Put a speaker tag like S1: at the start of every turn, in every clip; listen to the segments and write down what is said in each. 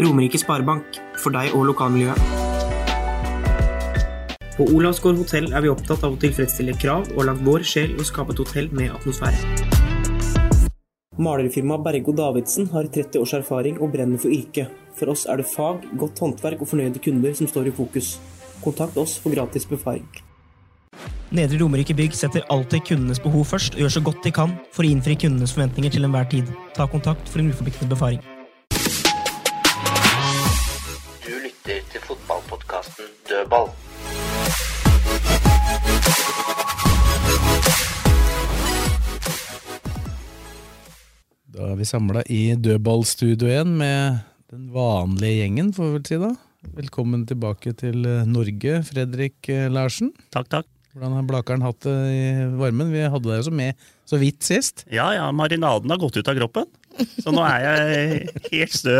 S1: Romerike Sparebank, for deg og lokalmiljøet. På Olavsgård hotell er vi opptatt av å tilfredsstille krav og la vår sjel å skape et hotell med atmosfære. Malerfirmaet Bergo Davidsen har 30 års erfaring og brenner for yrket. For oss er det fag, godt håndverk og fornøyde kunder som står i fokus. Kontakt oss for gratis befaring. Nedre Romerike Bygg setter alltid kundenes behov først og gjør så godt de kan for å innfri kundenes forventninger til enhver tid. Ta kontakt for en uforpliktende befaring.
S2: Du lytter til fotballpodkasten Dødball.
S3: Da er vi samla i dødballstudioen med den vanlige gjengen, får vi vel si da. Velkommen tilbake til eh, Norge, Fredrik eh, Larsen.
S4: Takk, takk.
S3: Hvordan har Blakeren hatt det i varmen? Vi hadde deg også med så vidt sist.
S4: Ja, ja, marinaden har gått ut av kroppen. Så nå er jeg helt stø.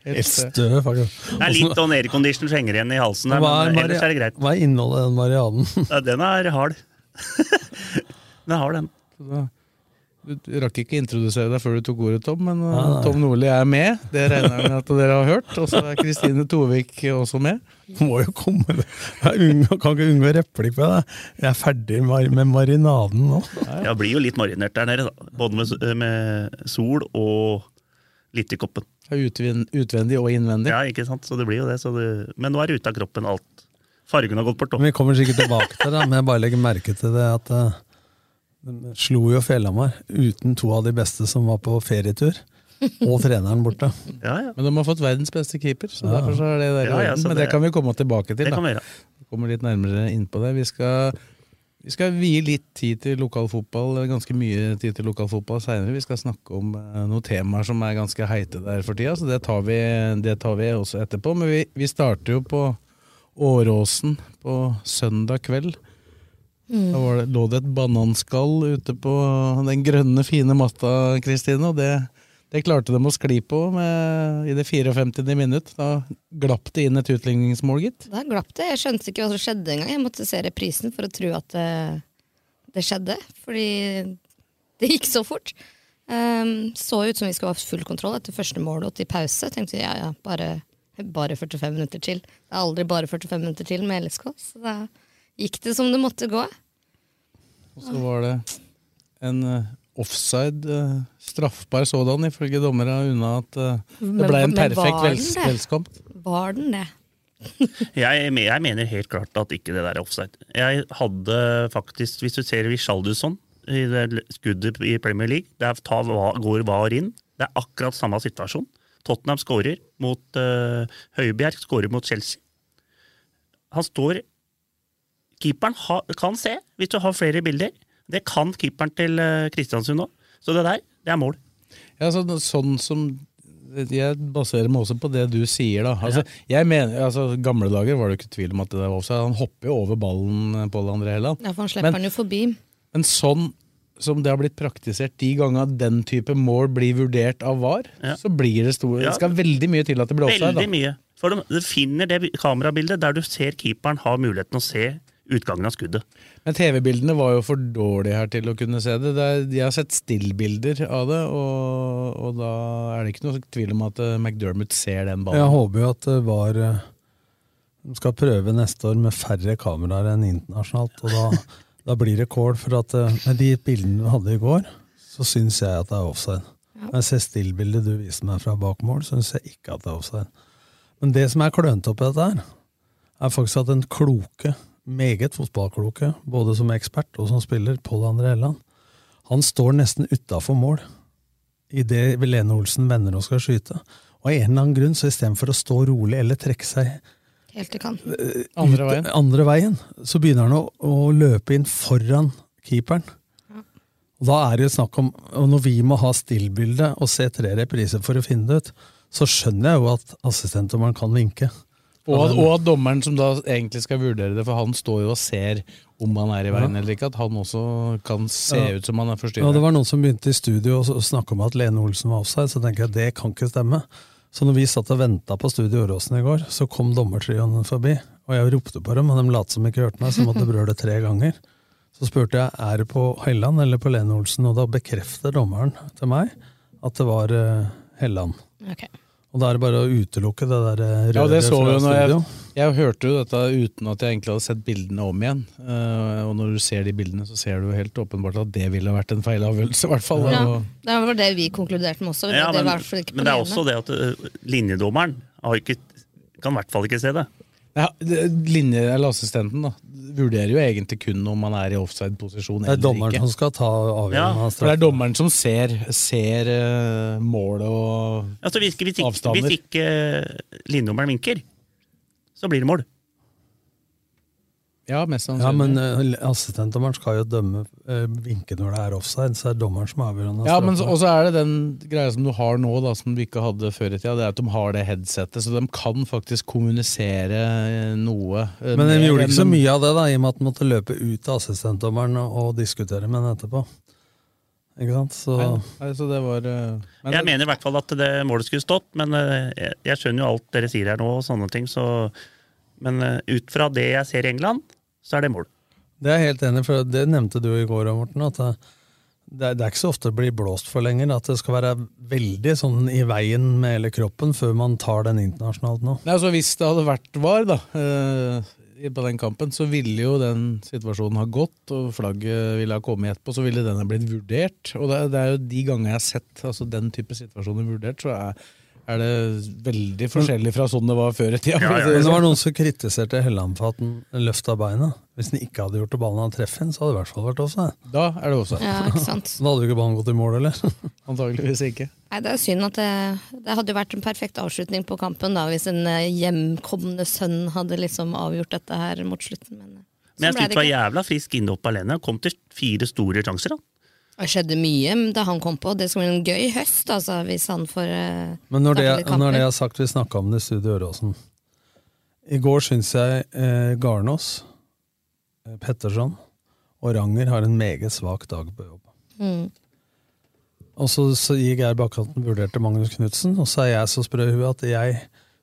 S3: Helt, eh,
S5: Stø, faktisk.
S4: Det er litt sånn aircondition som henger igjen i halsen, her,
S5: Hva er,
S4: men
S5: Mari-
S4: ellers er det greit.
S5: hva er innholdet i den marianen?
S4: Ja, Den er hard. Den er hard, den.
S3: da- Du rakk ikke introdusere deg før du tok ordet, Tom, men eh, Tom Nordli er med. Det regner jeg med at dere har hørt. Og så er Kristine Tovik også med.
S5: Må jo komme med Jeg unngå, kan ikke unngå replikk på deg. Jeg er ferdig mar- med marinaden nå.
S4: Jeg blir jo litt marinert der nede, da. Både med, s- eh, med sol og litt i koppen.
S3: Er utvin- Utvendig og innvendig.
S4: Ja, ikke sant? Så det blir jo det. Så det... Men nå er det ute av kroppen alt. Fargen har gått bort. da.
S5: Men Vi kommer sikkert tilbake til det, men jeg bare legger merke til det at eh, de slo jo Fjellhamar uten to av de beste som var på ferietur, og treneren borte.
S4: Ja, ja.
S3: Men de har fått verdens beste keeper, så derfor så er det der
S4: Ja,
S3: i
S4: ja,
S3: orden.
S4: så
S3: Men det
S4: det-
S3: kan vi komme tilbake til.
S4: Det
S3: da.
S4: kan vi gjøre.
S3: kommer litt nærmere inn på det. Vi skal, vi skal vie litt tid til lokal fotball, eller ganske mye tid til lokal fotball seinere. Vi skal snakke om eh, noen temaer som er ganske heite der for tida, så det tar vi, det tar vi også etterpå. Men vi, vi starter jo på Åråsen på søndag kveld. Da var det, lå det et bananskall ute på den grønne, fine matta, Kristine. og det det klarte de å skli på med, i det 54. minutt. Da glapp det inn et utligningsmål, gitt.
S6: Da glapp det. Jeg skjønte ikke hva som skjedde engang. Jeg måtte se reprisen for å tro at det, det skjedde. Fordi det gikk så fort. Ehm, så ut som vi skulle ha full kontroll etter første mål og til pause. Tenkte vi, ja ja, bare, bare 45 minutter til. Det er aldri bare 45 minutter til med LSK. Så da gikk det som det måtte gå.
S3: Og så var det en eh, offside, eh, straffbar sådan, ifølge dommere, unna at eh,
S6: Men-
S3: det ble en
S6: men var
S3: perfekt
S6: den
S3: vels
S6: det?
S3: velskamp.
S6: Var den det?
S4: Jeg, me- jeg mener helt klart at ikke det der er offside. Jeg hadde faktisk, hvis du ser Vishalduson i det l- skuddet i Premier League, der tar, va- går VAR inn. Det er akkurat samme situasjon. Tottenham skårer mot eh, Høibjerg, skårer mot Chelsea. Han står Keeperen ha, kan se, hvis du har flere bilder. Det kan keeperen til eh, Kristiansund òg. Så det der, det er mål.
S3: Ja, så, sånn som jeg baserer meg også på det du sier, da. Altså, jeg mener, altså, gamle dager var det jo ikke tvil om at det der var offside. Han hopper jo over ballen, eh, Pål André Helland.
S6: Ja, for han slipper
S3: Men-
S6: den jo forbi.
S3: Men sånn som det har blitt praktisert de gangene den type mål blir vurdert av VAR,
S4: Ja.
S3: så blir det stor
S4: Ja.
S3: Det skal veldig mye til at det blir offside.
S4: Veldig
S3: Da.
S4: mye. For de, de finner det bi- kamerabildet der du ser keeperen har muligheten å se utgangen av skuddet.
S3: Men TV-bildene var jo for dårlige her til å kunne se det. det er, jeg har sett stillbilder av det, og, og da er det ikke noe tvil om at eh, McDermott ser den
S5: Jeg
S3: ballen.
S5: håper jo at det var eh, De skal prøve neste år med færre kameraer enn internasjonalt, og da, da blir det kål. For at eh, med de bildene vi hadde i går, så syns jeg at det er offside. Når jeg ser stillbildet du viste meg fra bak mål, syns jeg ikke at det er offside. Men det som er klønete oppi dette her, er faktisk at den kloke, meget fotballkloke, både som ekspert og som spiller, Pål André Helland, han står nesten utafor mål idet Lene Olsen vender og skal skyte. Og av en eller annen grunn, så istedenfor å stå rolig eller trekke seg
S6: Helt til kanten.
S3: Andre veien.
S5: andre veien, så begynner han å, å løpe inn foran keeperen. Og da er det jo snakk om og Når vi må ha stillbilde og se tre repriser for å finne det ut, så skjønner jeg jo at assistentdommeren kan vinke.
S3: Og at, og at dommeren som da egentlig skal vurdere det, for han står jo og ser om han er i veien
S5: Ja.
S3: eller ikke, at han også kan se
S5: Ja.
S3: ut som han
S5: Ja,
S3: er
S5: det
S3: forstyrret.
S5: var noen som begynte i studio å s- å snakke om at Lene Olsen var offside, så tenker jeg det kan ikke stemme. Så når vi satt og venta på studio Åråsen i går, så kom dommertrioen forbi. Og jeg ropte på dem, og de lot som ikke hørte meg, så jeg måtte brøle tre ganger. Så spurte jeg er det på Helland eller på Lene Olsen, og da bekrefter dommeren til meg at det var eh, Helland.
S6: Ok.
S5: Og da er det bare å utelukke det der eh, røret
S3: Ja, det så vi
S5: fra
S3: jo når jeg,
S5: studio.
S3: jeg hørte jo dette uten at jeg egentlig hadde sett bildene om igjen. Eh, og når du ser de bildene, så ser du jo helt åpenbart at det ville vært en feilavgjørelse, i hvert fall.
S6: Ja,
S3: Og,
S6: det var det vi konkluderte med også.
S4: Ja,
S6: det
S4: men,
S6: var i hvert fall ikke
S4: men det er
S6: problemet.
S4: også det at ø, linjedommeren har ikke, kan i hvert fall ikke se det.
S3: ja, det- linje, eller assistenten da, vurderer jo egentlig kun om han er i offside-posisjon
S5: Det
S3: eller
S5: er dommeren
S3: ikke.
S5: som skal ta
S3: Ja,
S5: avgjørelsen av
S3: for det er
S5: straff.
S3: dommeren som ser, ser eh, målet og
S4: Altså, hvis, hvis, ikke,
S3: Avstander.
S4: hvis ikke eh, linjedommeren vinker, så blir det mål.
S3: Ja, mest
S5: Ja,
S3: sannsynlig.
S5: men eh, assistentdommeren skal jo dømme eh, vinke når det er offside, så er det dommeren som avgjør. om det er
S3: Ja, men
S5: straffe.
S3: så- Og så er det den greia som du har nå, da, som du ikke hadde før i tida. Det er at de har det headsetet, så de kan faktisk kommunisere eh, noe. eh,
S5: Men de
S3: mer
S5: gjorde
S3: enn
S5: ikke så
S3: de-
S5: mye av det, da, i og med at de måtte løpe ut til assistentdommeren og og diskutere med den etterpå. Ikke sant? Så
S3: Nei, nei, så det var eh, men-
S4: jeg mener i hvert fall at det målet skulle stått, men eh, jeg, jeg skjønner jo alt dere sier her nå, og sånne ting, så Men eh, ut fra det jeg ser i England, så er det mål.
S5: det er jeg helt enig i, for det nevnte du i går, Morten. at det, det er- det er ikke så ofte det blir blåst for lenger. At det skal være veldig sånn i veien med hele kroppen før man tar den internasjonalt nå.
S3: Nei, altså Hvis det hadde vært VAR da, eh, i- på den kampen, så ville jo den situasjonen ha gått, og flagget ville ha kommet etterpå, så ville den ha blitt vurdert. Og det, er- det er jo de gangene jeg har sett altså den type situasjoner vurdert, så er, er det veldig forskjellig fra sånn det var før i tida. for å si
S5: Men
S3: det
S5: det var
S3: sånn.
S5: noen som kritiserte Helland for at han løfta beina. Hvis han ikke hadde gjort det ballen han treffer, inn, så hadde det i hvert fall vært offside.
S3: sånn. Da er det offside.
S6: Ja, ikke sant.
S5: da hadde jo ikke ballen gått i mål, eller?
S3: Antageligvis ikke.
S6: Nei, Det er synd at det, det hadde jo vært en perfekt avslutning på kampen da, hvis en eh, hjemkomne sønn hadde liksom avgjort dette her mot slutten. Men, eh, sånn
S4: Men jeg syntes
S6: ble
S4: det
S6: det
S4: var
S6: ikke.
S4: jævla frisk inne opp alene. Kom til fire store sjanser, da.
S6: Det skjedde mye da han kom på. Det skal bli en gøy høst altså, hvis han får eh,
S5: Men når det,
S6: starte litt kamper.
S5: når det er sagt, vi snakka om det i Studio Øråsen. I går syns jeg eh, Garnås, eh, Petterson og Ranger har en meget svak dag på jobb.
S6: Mm.
S5: Og så, så gikk jeg bak at han vurderte Magnus Knutsen, og så er jeg så sprø i huet at jeg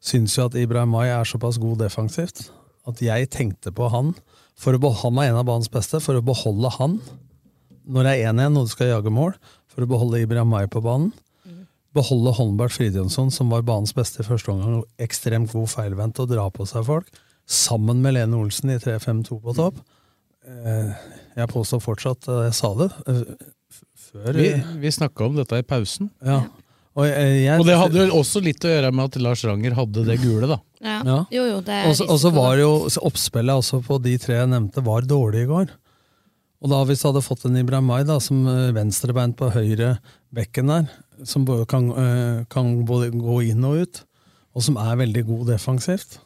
S5: syns jo at Ibrahim May er såpass god defensivt at jeg tenkte på han for å beholde, Han er en av banens beste. For å beholde han når det er 1-1 og du skal jage mål, for å beholde Ibrahim May på banen. Beholde Holmbert Fridjonsson, som var banens beste i første omgang, og ekstremt god feilvendt og dra på seg folk, sammen med Lene Olsen i 3-5-2 på topp. Eh, Jeg påstår fortsatt, eh, jeg sa det eh, f- før
S3: Vi, vi snakka om dette i pausen.
S5: ja. Og, jeg, jeg,
S3: Og det hadde jo også litt å gjøre med at Lars Ranger hadde det gule, da.
S6: Ja.
S5: Ja.
S6: Jo, jo, det er
S5: Og så- og så
S6: risiko,
S5: var
S6: da.
S5: det jo så oppspillet også på de tre jeg nevnte, var dårlig i går. Og da hvis du hadde fått en Ibrahimay da, som eh, venstrebeint på høyre bekken der, som både kan, eh, kan både gå inn og ut, og som er veldig god defensivt.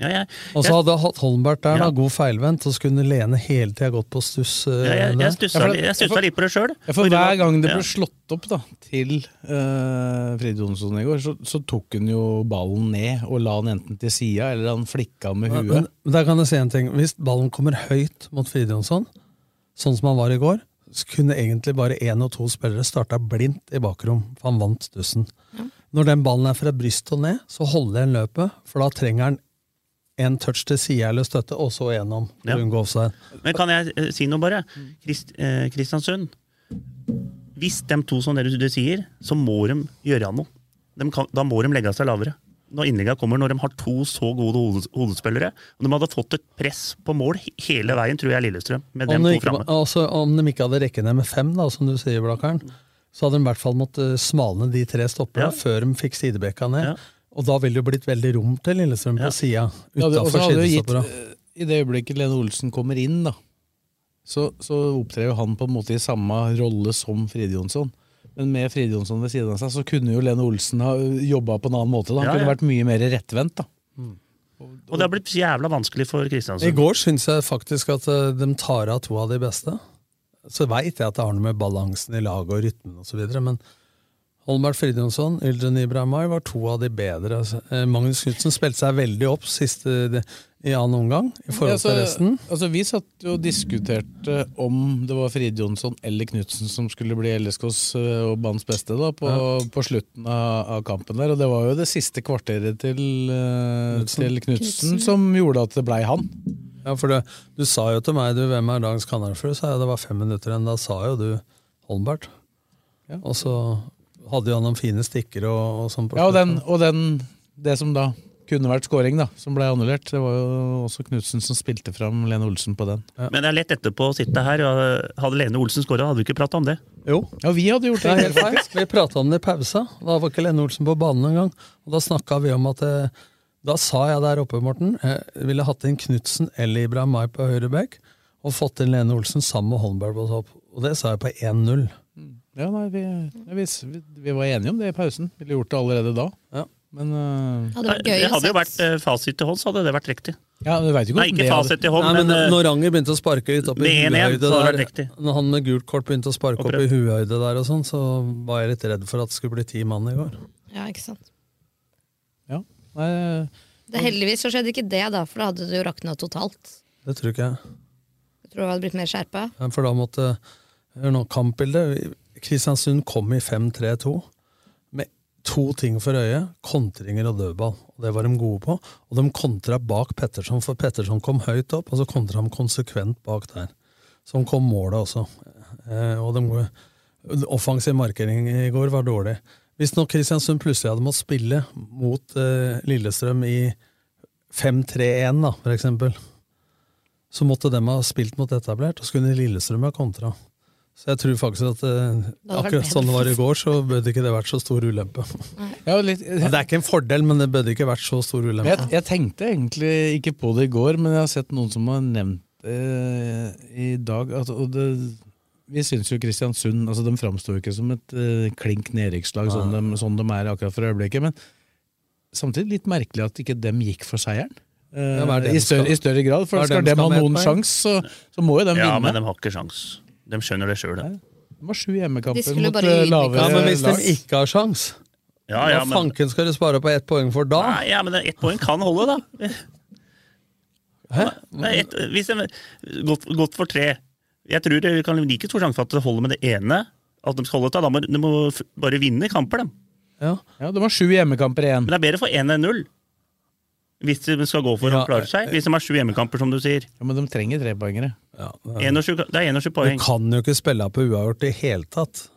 S4: Ja, jeg,
S5: Og så
S4: jeg-
S5: hadde jeg hatt Holmbert der,
S4: Ja.
S5: da, god feilvendt, og så kunne Lene hele tida gått på stuss. eh,
S4: Ja, jeg, jeg
S5: der.
S4: stussa, litt- jeg stussa litt på det sjøl.
S3: Ja, for hver gang det ble slått opp da, til uh, Frid Jonsson i går, så, så tok hun jo ballen ned og la den enten til sida, eller han flikka med
S5: Men, men
S3: huet.
S5: men der kan jeg si en ting. Hvis ballen kommer høyt mot Fridjonsson, sånn som han var i går, så kunne egentlig bare én og to spillere starta blindt i bakrom, for han vant stussen. Når den ballen er fra brystet og ned, så holder en løpet, for da trenger han en touch til sida eller støtte, og så gjennom. for
S4: Ja.
S5: å unngå offside.
S4: Men kan jeg eh, si noe, bare? Krist, eh, Kristiansund. Hvis de to som dere du sier, så må de gjøre noe. De kan, da må de legge seg lavere. Når innlegga kommer, når de har to så gode hode- hodespillere. Og de hadde fått et press på mål he- hele veien, tror jeg, Lillestrøm. Med
S5: Om
S4: dem
S5: de,
S4: to
S5: ikke,
S4: framme.
S5: altså, om de ikke hadde rekket ned med fem, da, som du sier, Blakkaren, så hadde de i hvert fall måttet eh, smalne de tre stopperne
S4: Ja.
S5: før de fikk sidebekka ned. Og da ville det jo blitt veldig rom til Lillestrøm på sida.
S3: Ja, det- og så
S5: Utafor
S3: hadde jo gitt,
S5: sidestopperne.
S3: eh, I det øyeblikket Lene Olsen kommer inn, da, så, så opptrer jo han på en måte i samme rolle som Frid Jonsson. Men med Frid Jonsson ved siden av seg, så kunne jo Lene Olsen ha jobba på en annen måte. Da. Han
S4: Ja,
S3: kunne
S4: ja.
S3: vært mye mer rettvendt. da.
S4: Og det har blitt jævla vanskelig for Kristiansund.
S5: I går syns jeg faktisk at eh, de tar av to av de beste. Så veit jeg at det har noe med balansen i laget og rytmen og så videre, men Holmberg Fridjonsson, Iljen Ibrahimai var to av de bedre. Eh, Magnus Knutsen spilte seg veldig opp siste, de- i annen omgang i forhold
S3: Ja,
S5: til
S3: altså-
S5: resten.
S3: Altså, vi satt jo og diskuterte om det var Frid Jonsson eller Knutsen som skulle bli LSKs eh, og banens beste da, på, på slutten av, av kampen der. Og det var jo det siste kvarteret til, eh, til
S5: Knutsen.
S3: Knutsen som gjorde at det blei han.
S5: Ja, for det, Du sa jo til meg du, 'Hvem er dagens kanalfru?' sa jeg det var fem minutter igjen. Da sa jo du Holmbert. Og så hadde jo han noen fine stikker og, og sånn. på
S3: Ja, og, den,
S5: slutten.
S3: og den, det som da kunne vært scoring, da, som ble annullert, det var jo også Knutsen som spilte fram Lene Olsen på den.
S4: Men det er lett etterpå å sitte her. og eh, Hadde Lene Olsen skåra, hadde vi ikke prata om det.
S5: Jo.
S3: Ja, vi hadde gjort
S5: Det er helt feil. Vi prata om det i pausa. Da var ikke Lene Olsen på banen engang. Og da snakka vi om at eh, Da sa jeg der oppe, Morten, jeg ville hatt inn Knutsen eller Ibrahimai på høyre bekk, og fått inn Lene Olsen sammen med Holmberg på topp. Og det sa jeg på 1-0.
S3: Ja, nei, vi, nei, vi, s- vi, vi var enige om det i pausen. Ville gjort det allerede da. Men eh,
S4: Nei, det hadde jo vært eh, fasit til hånd, så hadde det vært riktig.
S3: Ja, du vet jo ikke
S4: Nei,
S3: om
S4: ikke
S3: det hadde-
S4: fasit til hånd,
S5: Nei, men
S4: men, eh,
S5: når Ranger begynte å sparke litt opp i
S4: med 1-1 så hadde
S5: huehøyde der,
S4: det vært riktig.
S5: når han med gult kort begynte å sparke opp i
S4: Opprett.
S5: huehøyde der, og sånn, så var jeg litt redd for at det skulle bli ti mann i går.
S4: eh,
S6: Ja, ikke sant?
S3: nei,
S6: Det Heldigvis så skjedde ikke det, da, for da hadde det jo rakna totalt.
S5: det tror ikke jeg.
S6: Jeg tror det hadde blitt mer skjerpa.
S5: Ja, For da måtte Hør nå, kampbildet. Kristiansund kom i 5-3-2 med to ting for øye. Kontringer og dødball. Og det var de gode på. Og de kontra bak Petterson, for Petterson kom høyt opp, og så kontra de konsekvent bak der. Sånn kom målet også. Eh, og de, offensiv markering i går var dårlig. Hvis nå Kristiansund plutselig hadde måttet spille mot eh, Lillestrøm i 5-3-1, da, for eksempel, så måtte de ha spilt mot etablert, og så kunne Lillestrøm ha kontra. Så jeg tror faktisk at eh,
S3: vært
S5: akkurat
S3: bedre.
S5: sånn det var i går, så burde ikke det vært så stor ulempe.
S3: Ja, litt,
S5: Ja, det er ikke en fordel, men det burde ikke vært så stor
S3: Men
S5: ulempe.
S3: Jeg, jeg tenkte egentlig ikke på det i går, men jeg har sett noen som har nevnt det eh, i dag. At, og det, vi syns jo Kristiansund altså De framstår jo ikke som et eh, klink nedrykkslag, sånn, de- sånn de er akkurat for øyeblikket. Men samtidig litt merkelig at ikke dem gikk for seieren. eh,
S4: Ja, hva er det
S3: i,
S4: de skal-
S3: større, I større grad.
S4: hva
S3: For
S4: er
S3: skal
S4: det de
S3: dem ha
S4: skal med et
S3: noen
S4: poeng?
S3: sjanse, så, så må jo dem
S4: Ja, men
S3: vinne.
S4: de har ikke sjans. De skjønner det sjøl, de.
S3: De har sju
S4: De
S3: hjemmekamper
S4: skulle
S3: mot
S4: bare
S3: eh,
S4: ydmyke
S3: lavere
S5: Ja, men hvis de
S3: lag.
S5: ikke har sjans,
S4: Ja, ja,
S5: hva
S4: men-
S5: fanken skal du spare på ett poeng for da?
S4: Nei, ja, men det- ett poeng kan holde, da.
S5: Hæ?
S4: Nei, ett- hvis de, godt, godt for tre. Jeg tror det kan like stor sjanse for at det holder med det ene. At de skal holde til. Da må de må f- bare vinne kamper, dem.
S5: Ja.
S3: de har sju hjemmekamper igjen.
S4: Men det er bedre for én enn null. Hvis de skal gå for å klare seg. Hvis de har sju hjemmekamper, som du sier.
S3: Ja, Men de trenger trepoengere.
S5: Ja,
S4: En og sju- Det er 21
S5: Du
S4: poeng.
S5: kan jo ikke spille på uavgjort i hele tatt.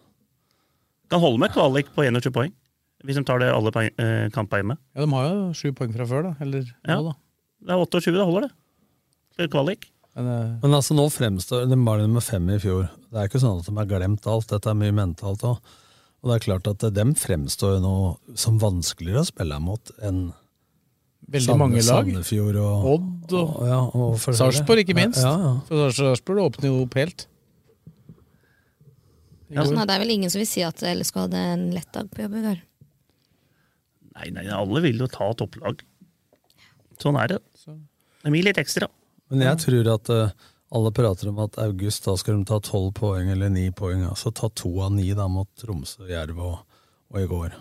S4: Kan holde med et kvalik på 21 poeng. Hvis de tar det alle poeng- eh, kamper hjemme.
S3: Ja, De har jo sju poeng fra før, da. Eller
S4: Ja.
S3: nå, da.
S4: Det er 28, det holder, det. For kvalik.
S3: eh,
S5: Men altså nå fremstår De var nummer fem i fjor. Det er ikke sånn at de har glemt alt. Dette er mye mentalt òg. Og det er klart at dem fremstår jo nå som vanskeligere å spille mot enn
S3: Veldig
S5: Sande-
S3: mange lag.
S5: Sandefjord og
S3: Odd og,
S5: ja, og forskjellige.
S3: Sarpsborg, ikke minst.
S5: Ja, ja.
S3: For Sars- Sarpsborg åpner jo opp helt. I går.
S6: Så nei, Sånn det er vel ingen som vil si at LSK hadde en lett dag på jobb i går.
S4: Nei, nei, alle vil jo ta topplag. Sånn er det. Det blir litt ekstra.
S5: Men jeg tror at eh, alle prater om at august da skal de ta tolv poeng eller ni poeng. Altså ta to av ni da mot Tromsø, Jerv og, og i går.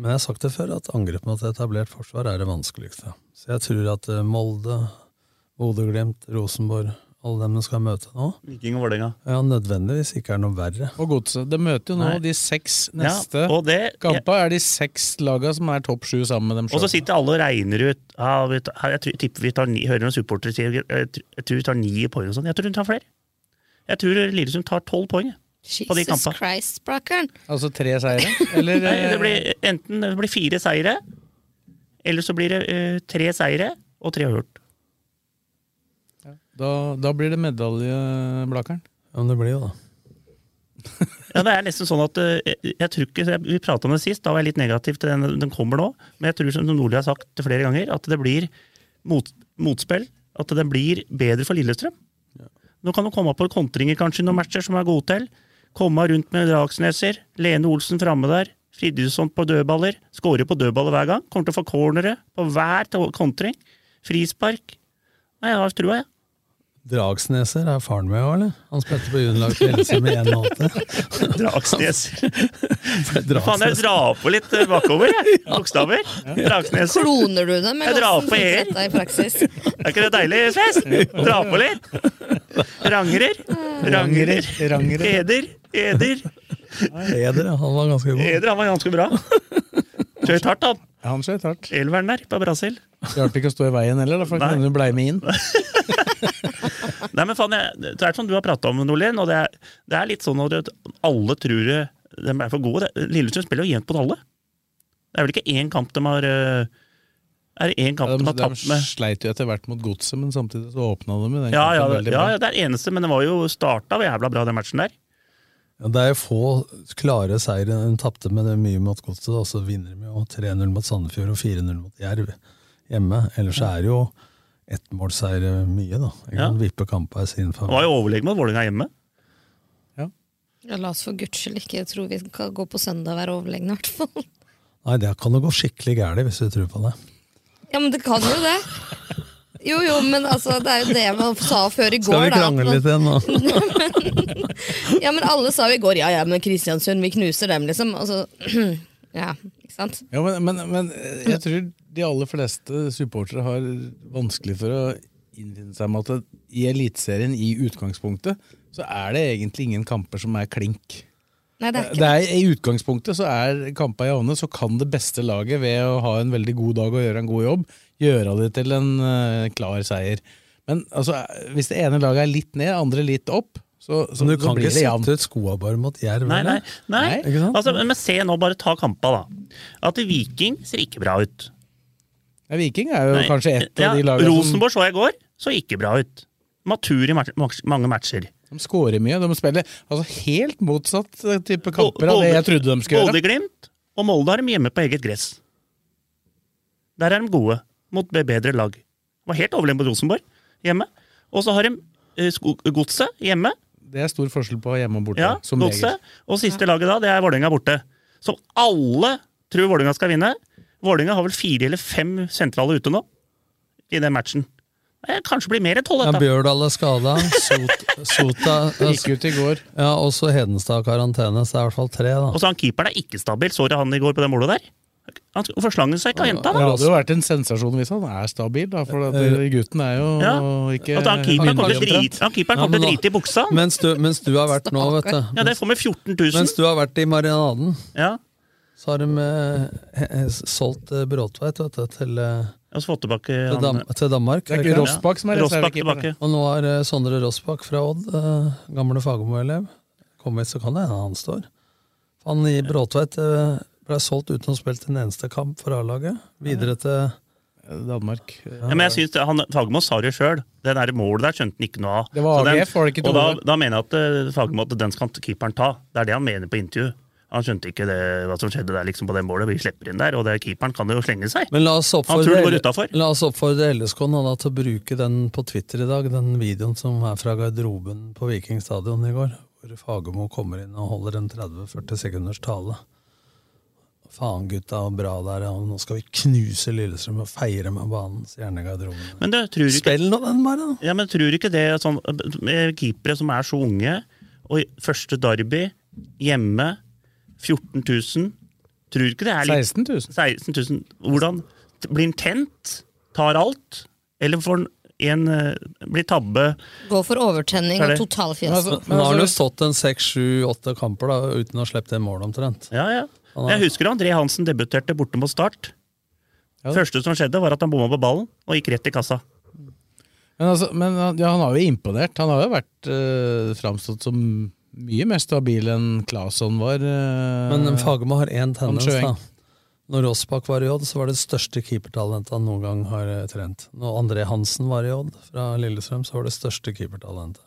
S5: Men jeg har sagt det før at angrep mot etablert forsvar er det vanskeligste. Så jeg tror at eh, Molde, Bodø-Glimt, Rosenborg, alle dem de skal møte nå,
S4: Viking og Vålerenga.
S5: ja, nødvendigvis ikke er noe verre.
S3: Og Godset. De møter jo nå
S5: Nei.
S3: de seks
S4: Ja,
S3: neste
S4: og det-
S3: kampa. Er de seks laga som er topp sju sammen med dem
S4: Og så
S3: sjøl.
S4: sitter alle og regner ut ja, vi tar- Jeg tror- tipper vi tar ni, hører noen supportere si jeg tr- jeg tror vi tar ni poeng og sånn. Jeg tror hun tar flere. Jeg tror Lillesund tar tolv poeng jeg, på de
S6: Jesus
S4: kampene.
S6: Christ, Brackern!
S3: Altså tre seire? Eller
S4: Nei,
S3: eh,
S4: det blir enten det blir fire seire, eller så blir det eh, tre seire og tre hørt.
S3: da, da blir det medalje, Blakeren.
S5: Ja, men det blir jo det.
S4: Ja, det er nesten sånn at eh, jeg, jeg tror ikke, Vi prata om det sist, da var jeg litt negativ til den, den kommer nå. Men jeg tror som Nordli har sagt flere ganger, at det blir mot, motspill. At det blir bedre for Lillestrøm. Nå kan du komme på kontringer kanskje i noen matcher som er gode til. Komme rundt med Dragsneser, Lene Olsen framme der, Fridtjofsson på dødballer. Skårer på dødballer hver gang. Kommer til å få cornere på hver to- kontring. Frispark. Nei, jeg har trua, jeg.
S5: Dragsneser er faren min òg, eller? Han spilte på juniorlag til Helse med 1,80.
S4: Dragsneser. Faen, jeg
S5: Dragsneser.
S4: drar på litt eh, bakover, jeg. Bokstaver. Dragsneser.
S6: Kloner du dem,
S4: Jeg
S6: eller
S4: drar
S6: hvordan
S4: på
S6: funker
S4: her.
S6: dette i praksis?
S4: Er ikke det deilig, Sves? Dra på litt. Rangrer.
S5: Mm.
S4: Rangrer.
S3: Rangrer.
S4: Eder. Eder.
S5: Eder, ja, han var ganske god.
S4: Eder han var ganske bra. Skjøt hardt, han.
S3: Han skjøt hardt.
S4: Elveren der på Brasil.
S3: Det hjalp ikke å stå i veien heller, da, for da kunne du blei med inn.
S4: Nei, men faen, jeg, det er som du har prata om, Nordlien, og det er, det er litt sånn at det- alle tror det- de er for gode. Det- Lillestrøm spiller jo jevnt mot alle. Det er vel ikke én kamp de har eh, Er det én kamp
S3: De,
S4: de har
S3: de
S4: tapt med
S3: sleit jo etter hvert mot godset, men samtidig så åpna de med den
S4: ja, ja,
S3: kampen
S4: det-
S3: veldig
S4: ja,
S3: bra.
S4: ja, det er eneste, men det var jo starta jævla bra, den matchen der.
S5: Ja, det er jo få klare seire. Hun tapte med det mye mot Godset, og så vinner de jo 3-0 mot Sandefjord og 4-0 mot Jerv hjemme. Ellers er det jo ettmålsseire mye, da. Jeg kan vippe kampa i sin
S4: Det var
S5: favør.
S4: jo overlegen mot Vålerenga hjemme.
S6: Ja, la oss for guds skyld ikke tro vi skal gå på søndag og være overlegne, i hvert fall.
S5: Nei, det kan jo gå skikkelig gærent hvis du tror på det.
S6: Ja, men det kan jo det. Jo, jo, men altså, det er jo det man sa før i går.
S5: Skal vi
S6: da, at
S5: krangle
S6: man-
S5: litt igjen nå?
S6: Ja, men alle sa jo i går ja, ja, men Kristiansund, vi knuser dem, liksom. Altså, ja, ikke sant?
S3: Ja, men, men, men jeg tror de aller fleste supportere har vanskelig for å innfinne seg med at i Eliteserien i utgangspunktet så er det egentlig ingen kamper som er klink.
S6: Nei, det er ikke
S3: Det er, I utgangspunktet så er kampa javne, så kan det beste laget ved å ha en veldig god dag og gjøre en god jobb, gjøre det til en eh, klar seier. Men altså, hvis det ene laget er litt ned, andre litt opp, så, så,
S5: Men du
S3: så
S5: kan
S3: blir
S5: ikke
S3: det jevnt.
S5: sette ut skoa bare mot Jerv?
S4: Nei, nei,
S5: eller?
S4: nei.
S5: Ikke sant?
S4: Altså, men se nå, bare ta kampa, da. At Viking ser ikke bra ut.
S3: Ja, Viking er jo
S4: Nei.
S3: kanskje ett
S4: Ja,
S3: av de lagene som
S4: Rosenborg så jeg i går, så ikke bra ut. Matur i match- match- mange matcher.
S3: De skårer mye. De spiller altså helt motsatt eh, type kamper av det jeg trodde de skulle gjøre.
S4: Bodø-Glimt og Molde har dem hjemme på eget gress. Der er de gode, mot be- bedre lag. De var helt overlegen på Rosenborg hjemme. Og så har de eh, sko- Godset hjemme.
S3: Det er stor forskjell på hjemme og borte.
S4: Ja,
S3: som regel.
S4: Godset. Og siste laget da, det er Vålerenga borte. Som alle tror Vålerenga skal vinne. Vålerenga har vel fire eller fem sentrale ute nå i den matchen. Det kanskje blir mer enn tolv,
S5: Ja,
S4: dette.
S5: Bjørdal er skada. Sot, Sota
S3: Gikk ut i går.
S5: Ja, også Hedenstad har karantene, så det er i hvert fall tre, da.
S4: Og så han keeperen er ikke stabil. Så dere han i går på det målet der? Han forslangen seg ikke og henta,
S3: Det
S4: da.
S3: hadde jo vært en sensasjon hvis han er stabil, da, for at eh, gutten er jo
S4: Ja.
S3: ikke
S4: At han keeperen kommer til å
S3: myndig omtrent.
S4: drite, han keeperen kommer til å
S5: Ja, men
S4: drite i buksa.
S5: Mens du, mens du har vært nå, vet du
S4: Ja, det får med 14 000.
S5: Mens du har vært i marinaden,
S4: Ja,
S5: så har de eh, he- he- solgt eh, Bråtveit vet du, til, eh,
S4: og så fått tilbake
S5: til,
S4: han.
S5: Dam til Danmark.
S3: Det er ikke Rossbakk som er
S4: Rossbakk
S3: reservekeeper.
S4: tilbake.
S5: Og nå er eh, Sondre Rossbak fra Odd, eh, gamle Fagermo-elev, kommet, så kan det hende han står. Han i Bråtveit eh, ble solgt uten å ha spilt en eneste kamp for A-laget. Videre til
S3: Danmark.
S4: Ja, men jeg synes han, Fagermo sa det sjøl. Det der målet der skjønte han ikke noe av.
S3: Det var
S4: Så den-
S3: AGF, var det ikke
S4: Og da,
S3: dårlig?
S4: da mener jeg at eh, Fagermo at den skal keeperen ta. Det er det han mener på intervju. Han skjønte ikke det, hva som skjedde der liksom på det målet. Vi slipper inn der, og det, keeperen kan jo slenge seg.
S5: Men la oss
S4: Han tror det går
S5: oppfordre,
S4: utenfor.
S5: la oss oppfordre LSK nå da til å bruke den på Twitter i dag, den videoen som er fra garderoben på Viking stadion i går, hvor Fagermo kommer inn og holder en 30-40 sekunders tale. Faen, gutta, og bra der, og nå skal vi knuse Lillestrøm og feire med banen, sier han i garderoben.
S4: Men du, tror du ikke
S5: Spill nå den, bare! da.
S4: Ja, men tror du ikke det er sånn, med keepere som er så unge, og i første derby, hjemme, 14 000, tror du ikke det er litt
S3: 16 000.
S4: 16 000, hvordan blir han tent, tar alt, eller får han en, eh, blir tabbe,
S6: Gå for overtenning
S4: Er
S6: og
S4: det-
S3: Men
S6: totalfiasko.
S3: altså-
S5: Men nå har han jo
S3: altså-
S5: stått en seks, sju, åtte kamper da, uten å ha sluppet en mål, omtrent.
S4: ja, ja.
S5: Han
S4: Jeg
S5: er-
S4: husker André Hansen debuterte borte mot start.
S3: Ja.
S4: Første som skjedde var at han bomma på ballen, og gikk rett i kassa.
S3: Men, altså, men han- ja, han har jo imponert. Han har jo vært eh, framstått som mye mer stabil enn Claesson var. eh,
S5: Men Fagermo har én tendens,
S3: Sjøeng.
S5: da. Når Rossbakk var i Odd, så var det det største keepertalentet han noen gang har eh, trent. Når André Hansen var i Odd fra Lillestrøm, så var det største keepertalentet.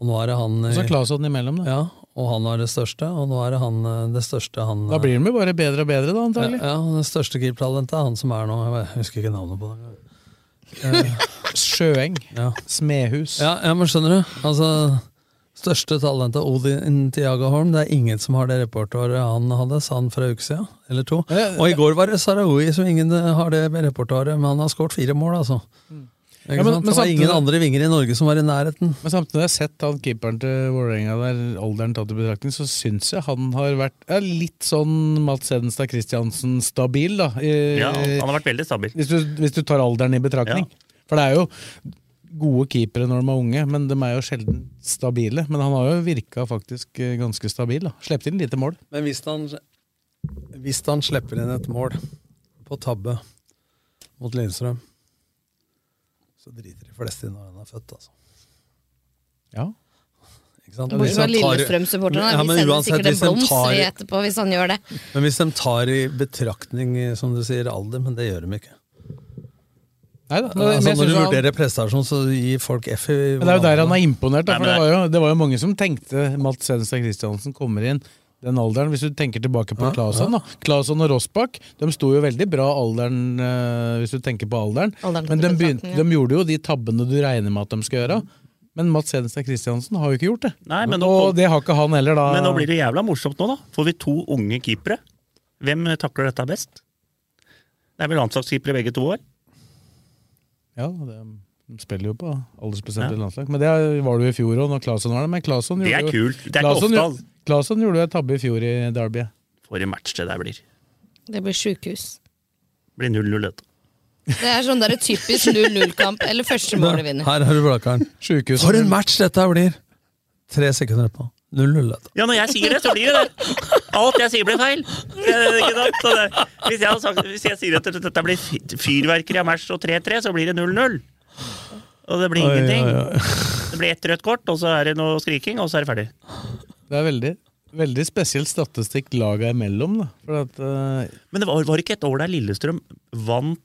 S5: Og nå er det han
S3: Og så
S5: eh,
S3: altså Claesson imellom, da.
S5: Ja, og han har det største, og nå er det han eh, det største han
S3: Da
S5: eh,
S3: blir de jo bare bedre og bedre, da,
S5: ja,
S3: antagelig.
S5: ja, Det største keepertalentet er han som er nå, jeg husker ikke navnet på det.
S3: Sjøeng.
S5: Ja.
S3: Smedhus.
S5: Ja, ja, men skjønner du? Altså, største talentet, Odin Tiaga Holm, det er ingen som har det repertoaret han hadde, sa han for en uke siden, eller to.
S3: Ja, ja.
S5: Og i går var det Sarawi som ingen eh, har det repertoaret, men han har skåret fire mål, altså. Ikke sant? det var ingen andre vinger i Norge som var i nærheten.
S3: Men samtidig har jeg sett han keeperen til Vålerenga der, alderen tatt i betraktning, så syns jeg han har vært ja, litt sånn Mats Hedenstad Christiansen stabil, da. I-
S4: Ja,
S5: Eh,
S4: han har vært veldig stabil.
S3: Hvis du, hvis du tar alderen i betraktning. For det er jo gode keepere når de er unge, men de er jo sjelden stabile. Men han har jo virka faktisk eh, ganske stabil. da. Sleppte inn lite mål.
S5: Men hvis han, hvis han slipper inn et mål på tabbe mot Lillestrøm, så driter de fleste i når han er født, altså.
S3: Ja.
S5: Ikke sant?
S6: Bortsett
S5: Hvis
S6: fra
S5: han tar-
S6: Lillestrøm-supporterne.
S5: Ja,
S6: da.
S5: men
S6: vi sender
S5: uansett,
S6: sikkert en
S5: hvis de
S6: blomst
S5: tar-
S6: vi etterpå hvis han gjør det.
S5: Men hvis de tar i betraktning, eh, som du sier, alder, men det gjør de ikke.
S3: Neida, men- men
S5: Altså,
S3: jeg
S5: når
S3: synes
S5: du
S3: han-
S5: vurderer prestasjon, så gir folk F i
S3: Men det er jo der han er imponert. Da,
S5: Nei,
S3: for
S5: men
S3: det,
S5: det-
S3: var jo, det var jo mange som tenkte Mats Hedenstad Christiansen kommer inn den alderen. Hvis du tenker tilbake på
S5: Ja,
S3: Claesson,
S5: ja.
S3: da. Claesson og Rossbakk de sto jo veldig bra alderen, eh, hvis du tenker på alderen.
S6: Alderen
S3: Men de,
S6: til
S3: begynte,
S6: betraktning, ja.
S3: de gjorde jo de tabbene du regner med at de skal gjøre. Men Mats Hedenstad Christiansen har jo ikke gjort det.
S4: Nei, men nå,
S3: Og det har ikke han heller, da.
S4: men nå blir det jævla morsomt nå, da. Får vi to unge keepere. Hvem takler dette best? Det er vel landslagskeepere begge to år.
S3: Ja, det, de spiller jo på aldersbestemte
S4: Ja.
S3: landslag. Men det var det jo i fjor òg, når Claesson var det. Men Claesson
S4: Det er
S3: gjorde jo-
S4: kult. Det er ikke
S3: Claesson
S4: ofte,
S3: gjorde-
S4: altså.
S3: Claesson gjorde jo en tabbe i fjor i Derby.
S4: For en match det der blir.
S6: Det blir sjukehus.
S4: Blir 0-0, dette.
S6: Det er sånn der typisk 0-0-kamp, eller første målet vinner.
S5: Her har du blakkeren.
S3: Sjukehuset.
S5: For en match dette her blir! Tre sekunder etterpå. 0-0. dette.
S4: Ja, når jeg sier det, så blir det det. Alt jeg sier, blir feil. Eh, Ikke sant? Så det, hvis, jeg hadde sagt, hvis jeg sier at dette blir fyr- fyrverkeri av match og 3-3, så blir det 0-0. Og det blir
S3: Oi,
S4: ingenting.
S3: oi, oi.
S4: Det blir ett rødt kort, og så er det noe skriking, og så er det ferdig.
S3: Det er veldig, veldig spesiell statistikk laga imellom, da. For at, eh,
S4: Men det var, var ikke et år der Lillestrøm vant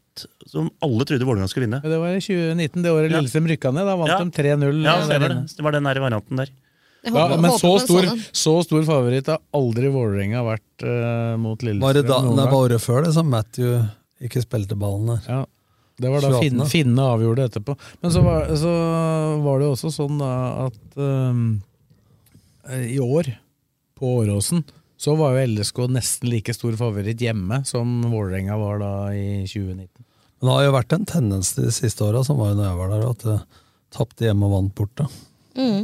S4: som alle trodde Vålerenga skulle vinne.
S3: det var i 2019, det året
S4: Ja.
S3: Lillestrøm rykka ned. Da vant
S4: Ja.
S3: de 3-0.
S4: Ja, det
S3: der
S4: var,
S3: inne.
S4: det. det var den der varianten der.
S6: Jeg
S3: Ja,
S6: håper-
S3: men
S6: håper
S3: så
S6: man så
S3: stor,
S6: den.
S3: så stor favoritt har aldri Vålerenga vært eh, mot Lillestrøm.
S5: Var det da,
S3: noen
S5: det
S3: gang.
S5: var året før det som Matthew ikke spilte ballen der.
S3: Ja, Det var da
S5: 28.
S3: finne, finne avgjorde etterpå. Men så var, så var det jo også sånn da at eh, i år, på Åråsen, så var jo LSK nesten like stor favoritt hjemme som Vålerenga var da i 2019.
S5: Men det har jo vært en tendens de siste åra, som var jo når jeg var der, at eh, tapte hjemme og vant borte.
S6: Mm,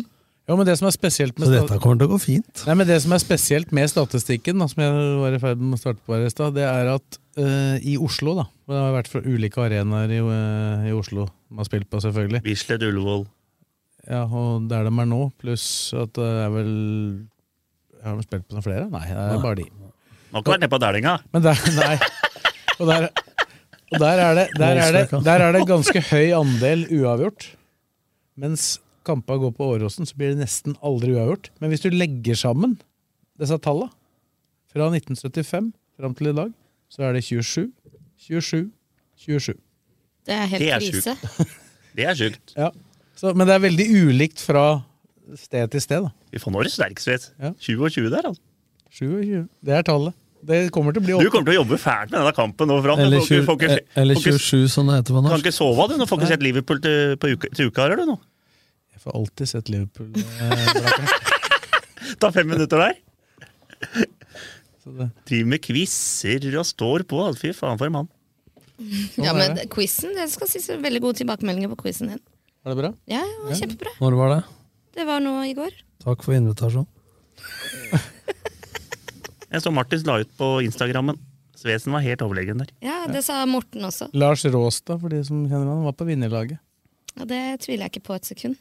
S3: Ja, men det som er spesielt med
S5: Så dette kommer til å gå fint.
S3: Nei, men Det som er spesielt med statistikken, da, som jeg var i ferd med å starte på her i stad, det er at eh, i Oslo da, og Det har vært fra ulike arenaer i, eh, i Oslo man har spilt på, selvfølgelig.
S4: Bislett, Ullevål.
S3: Ja, Og der de er nå, pluss at det er vel Har de spilt på noen flere? Nei, det er bare de.
S4: Nå kan vi være nede på Dælinga.
S3: Men der, nei. Og der, og der, er, det, der, er, det, der er det ganske høy andel uavgjort. Mens kampa går på Åråsen, så blir det nesten aldri uavgjort. Men hvis du legger sammen disse talla fra 1975 fram til i dag, så er det 27, 27, 27.
S6: Det er helt
S3: Det er
S6: krise.
S4: Det er sjukt.
S3: Ja. Så, men det er veldig ulikt fra sted til sted. da.
S4: Vi får nå det sterkeste, vet du. 20 og 20 der, altså.
S3: 27. Det er tallet. Det kommer til å bli
S4: Du kommer til å jobbe fælt med denne kampen nå fram.
S5: Eller,
S4: Du får ikke- får
S3: eh,
S4: ikke-
S5: 20, eller
S4: får ikke-
S5: 27, som det heter på
S4: Kan
S5: norsk.
S4: ikke sove av, du. Nå får ikke sett Liverpool til, på uke, til uka, eller du nå?
S3: Jeg får alltid sett Liverpool. eh,
S4: Ta fem minutter der.
S3: Driver
S4: med quizer og står på. altså. Fy faen, for en mann.
S6: Ja,
S4: er
S6: men quizen, jeg skal si så veldig gode tilbakemeldinger på quizen din.
S3: Er det bra?
S6: Ja, det var kjempebra.
S5: Når var det?
S6: Det var nå i går.
S5: Takk for invitasjon.
S4: Jeg så Martins la ut på Instagrammen. Svesen var helt overlegen der.
S6: Ja, det sa Morten også.
S3: Lars Råstad, for de som kjenner han, var på vinnerlaget.
S6: Og det tviler jeg ikke på et sekund.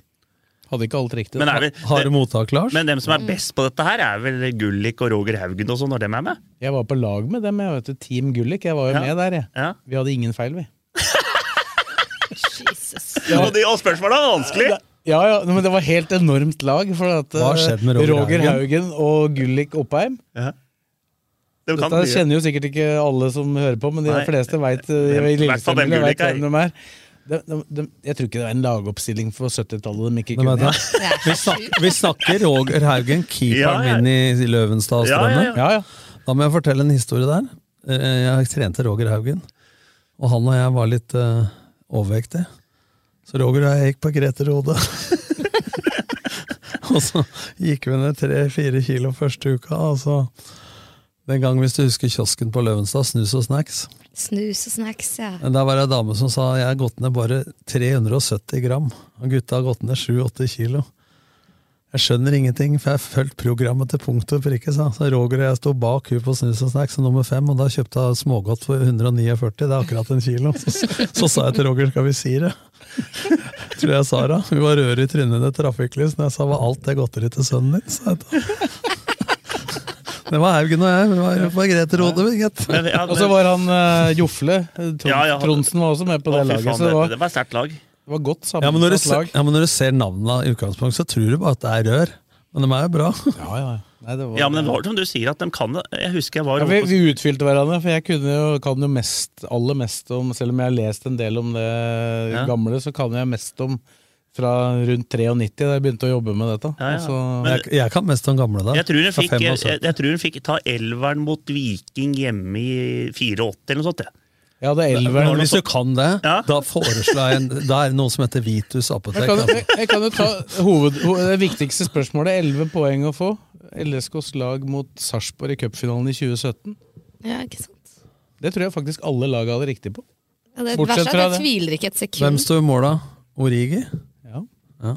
S3: Hadde ikke alt riktig.
S4: Men er vi-
S5: Har du mottak, Lars?
S4: Men dem som er best på dette her, er vel Gullik og Roger Haugen og sånn, når dem er med?
S3: Jeg var på lag med dem, jeg vet du. Team Gullik. Jeg var jo
S4: Ja.
S3: med der, jeg.
S4: Ja.
S3: Vi hadde ingen feil, vi.
S4: Ja. Og, de, og spørsmålet er vanskelig!
S3: Ja, ja, men det var helt enormt lag. For at eh,
S5: Hva har skjedd med Roger
S3: Roger Haugen
S5: Haugen?
S3: og Gullik Oppheim
S4: De kan
S3: Dette
S4: mye.
S3: kjenner jo sikkert ikke alle som hører på, men de
S4: Nei.
S3: fleste eh, veit
S4: Hvem- i hvert fall hvem Gullik er.
S3: hvem de er. De, de, de, jeg tror ikke det var en lagoppstilling på 70-tallet de ikke
S5: Hvem er
S3: kunne.
S5: det? Vi snakker, vi snakker Roger Haugen, keeperen
S3: Ja, ja.
S5: min i Løvenstad og
S3: Ja, ja, ja.
S5: Strømmen.
S3: Ja,
S5: Da må jeg fortelle en historie der. Eh, Jeg trente Roger Haugen, og han og jeg var litt eh, overvektige. Så Roger og jeg gikk på Grete Rode. og så gikk vi ned tre-fire kilo første uka, og så Den gangen, hvis du husker kiosken på Løvenstad, Snus og Snacks.
S6: Snus og snacks, ja.
S5: Men Der var det ei dame som sa jeg har gått ned bare 370 gram. Og gutta har gått ned 7-8 kilo. Jeg skjønner ingenting, for jeg har fulgt programmet til punkt og prikke. sa han. Så Roger og jeg sto bak hun på Snus og Snacks som nummer fem, og da kjøpte hun smågodt for 149. Det er akkurat en kilo. Så, så sa jeg til Roger skal vi si det? Tror jeg sa det. Hun var rød i trynet under trafikklys når jeg sa var alt det godteriet til sønnen din? sa jeg til henne. Det var Haugen og jeg. Vi var på Grete Rode, vi, gitt.
S4: Men- ja,
S3: Og så
S4: men-
S3: var han eh, Jofle. Trond,
S4: Ja, ja.
S3: Tronsen var også med på
S4: Å,
S3: det
S4: fy
S3: laget.
S4: faen,
S3: Så det
S4: det,
S3: var,
S4: det var sterkt lag.
S3: det var godt
S5: Ja, men når du,
S3: sammensatt
S5: ser,
S3: lag.
S5: ja, men når du ser navnene i utgangspunktet, så tror du bare at det er rør. Men de er jo bra.
S3: Ja, ja. Nei, det var,
S4: Ja, men det var som du sier, at de kan det. Jeg husker jeg var
S3: Ja, vi,
S4: oppe på-
S3: vi utfylte hverandre, for jeg kunne jo, kan jo mest, aller mest om Selv om jeg har lest en del om det
S4: Ja.
S3: gamle, så kan jeg mest om fra rundt 93, da jeg begynte å jobbe med dette. Altså,
S4: Ja, ja.
S3: Og Så,
S4: Men-
S5: Jeg, jeg kan mest om gamle da.
S4: Jeg tror hun
S5: Fra
S4: fikk,
S5: fem og
S4: jeg,
S5: sytten.
S4: jeg tror hun fikk ta elveren mot Viking hjemme i 84 eller noe sånt. jeg.
S3: ja, det er
S5: Men
S3: elveren.
S5: Hvis du kan det, da foreslår jeg en Da er det noe som heter Vitus apotek.
S3: Jeg kan,
S5: altså.
S3: jeg, jeg kan jo ta hoved, ho- det viktigste spørsmålet. 11 poeng å få. LSKs lag mot Sarpsborg i cupfinalen i 2017.
S6: ja ikke sant?
S3: Det tror jeg faktisk alle lag hadde riktig på.
S6: Ja, det
S3: Bortsett
S6: verste er
S3: fra
S6: at
S3: det.
S6: jeg tviler ikke et sekund.
S5: Hvem sto i mål da? Origi?
S3: Ja.
S5: Ja.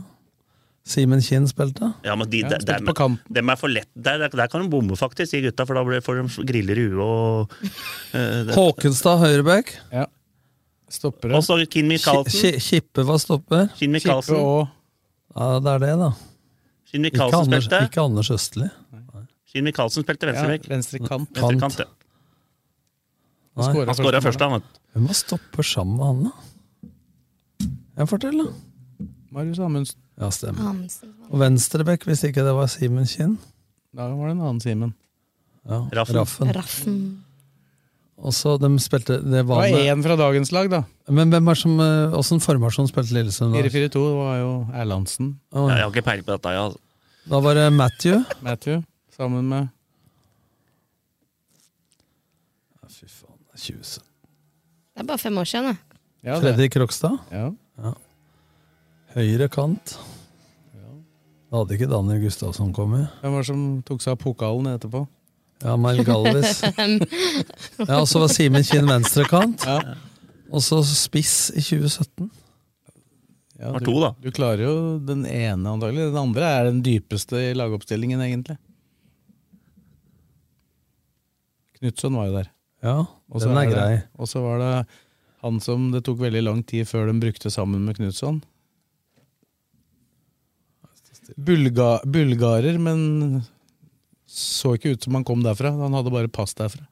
S5: Simen Kinn spilte?
S4: Ja, men de,
S3: Ja,
S4: de,
S3: spilte
S4: dem-
S3: på kamp.
S4: dem er for lett. Der, der, der kan de bomme, faktisk, de gutta, for da blir- får de griller i huet og eh, det-
S5: Håkenstad høyreback.
S3: Ja. Stopper
S4: Og
S3: det.
S4: så Kim
S5: Ki-
S4: Michaelsen.
S5: Ki- Kippe var stopper.
S4: Kim
S3: Kippe
S4: Michaelsen,
S3: og
S5: Ja, det er det, da.
S4: Kim
S5: Ikke
S4: Michaelsen
S5: Anders,
S4: spilte.
S5: ikke Anders Østli.
S4: Kim Michaelsen spilte
S3: ja,
S4: venstrebekk.
S3: venstre kant.
S4: Venstrekant, ja.
S5: Nei.
S3: Skåret
S4: Han skåra
S3: målet.
S4: først, han. vet du.
S5: Hvem var stopper sammen med han, da? Ja, fortell, da.
S3: Marius Amundsen.
S5: Ja, stemmer.
S6: Amundsen.
S5: Og venstrebekk, hvis ikke det var Simen Kinn.
S3: Da var det en annen Simen.
S5: Ja,
S4: Raffen.
S5: Raffen.
S6: Raffen.
S5: Og så de spilte det
S3: Det
S5: var
S3: var
S5: med,
S3: én fra dagens lag, da.
S5: Men hvem er som, eh, åssen formasjon spilte Lillesund da?
S3: 4-4-2 var jo Erlandsen.
S4: Ja,
S5: Å, ja.
S4: jeg har ikke peiling på dette. Jeg, altså.
S5: Da var det Matthew.
S3: Matthew. Sammen med
S5: Fy faen, 2017.
S6: Det er bare fem år siden, da.
S3: ja, det-
S5: Fredrik Rokstad.
S3: Ja.
S5: Høyre kant. Da hadde ikke Daniel Gustavsson kommet.
S3: Hvem var det som tok seg av pokalen etterpå?
S5: Ja, Mel Galvis. Ja, og så var Simen Kinn venstre kant.
S3: Ja.
S5: Og så spiss i 2017.
S3: Ja,
S4: Var
S3: du,
S4: to, da.
S3: du klarer jo den ene, antagelig. Den andre er den dypeste i lagoppstillingen, egentlig. Knutson var jo der.
S5: Ja,
S3: Og så
S5: den er
S3: det-
S5: grei.
S3: Og så var det han som det tok veldig lang tid før de brukte sammen med Knutson. Bulga, bulgarer, men så ikke ut som han kom derfra. Han hadde bare pass derfra.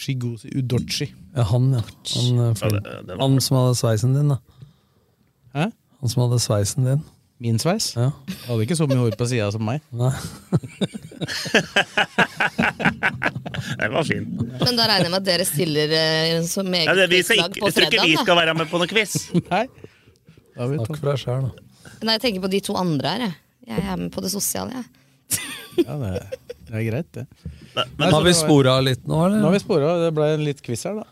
S3: Shigosi Udochi.
S5: Ja, han, ja. Han, eh,
S4: Ja,
S5: flink.
S4: det- det var-
S5: han som hadde sveisen din, da.
S3: Hæ?
S5: Han som hadde sveisen din.
S3: Min sveis.
S5: Ja.
S3: Han hadde ikke så mye hår på sida som meg.
S5: Nei.
S4: Den var fin.
S6: Men da regner jeg med at dere stiller eh, som
S4: Ja, det,
S6: eget
S4: vi skal
S6: lag
S4: ikke,
S6: på
S4: jeg tror ikke vi
S6: fredag. Da.
S4: skal være med på noen quiz.
S3: Nei. Da har vi
S5: Takk
S3: tatt.
S5: for deg sjæl, da.
S6: Nei, jeg tenker på de to andre her. Jeg, jeg er med på det sosiale, jeg.
S3: Ja, det, det er greit, det.
S4: Men,
S5: har vi spora litt nå,
S3: Nå har
S5: eller?
S3: vi spora. Det ble en litt quiz her, da.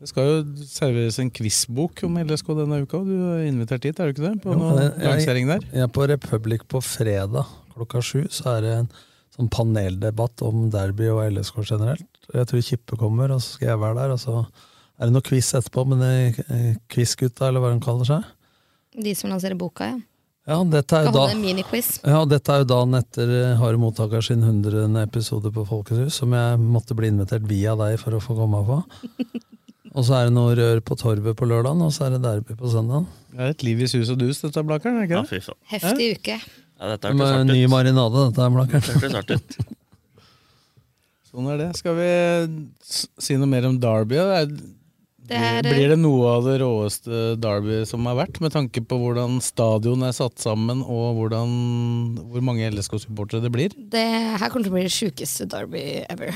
S3: Det skal jo serveres en quizbok om LSK denne uka. Du er invitert dit, er du ikke det? På
S5: Jo,
S3: noen
S5: jeg- jeg-
S3: lansering der.
S5: Jeg er på Republic på fredag klokka sju. Så er det en sånn paneldebatt om derby og LSK generelt. Jeg tror Kippe kommer, og så skal jeg være der. Og så er det noe quiz etterpå med de eh, quizgutta, eller hva de kaller seg.
S6: De som lanserer boka, ja.
S5: Ja, dette er
S6: Skal
S5: jo da
S6: holde en miniquiz.
S5: ja, dette er jo dagen etter eh, Harde mottaker sin 100. episode på Folkets hus, som jeg måtte bli invitert via deg for å få komme på. Og så er det noe rør på torvet på lørdagen, og så er det derby på søndagen.
S3: Det er et liv i sus og dus, dette Blakkaren. er det
S4: ja,
S3: ikke det?
S4: fy faen.
S6: Heftig uke.
S4: Ja, dette
S5: Med ny
S4: hørtes hardt ut.
S5: marinade, dette er Blakkern.
S4: Det hørtes hardt ut.
S3: Sånn er det. Skal vi s- si noe mer om Derby? Det er,
S6: Det er, eh,
S3: blir det noe av det råeste Derby som har vært, med tanke på hvordan stadion er satt sammen, og hvordan, hvor mange LSK-supportere det blir?
S6: det her kommer til å bli det sjukeste Derby ever.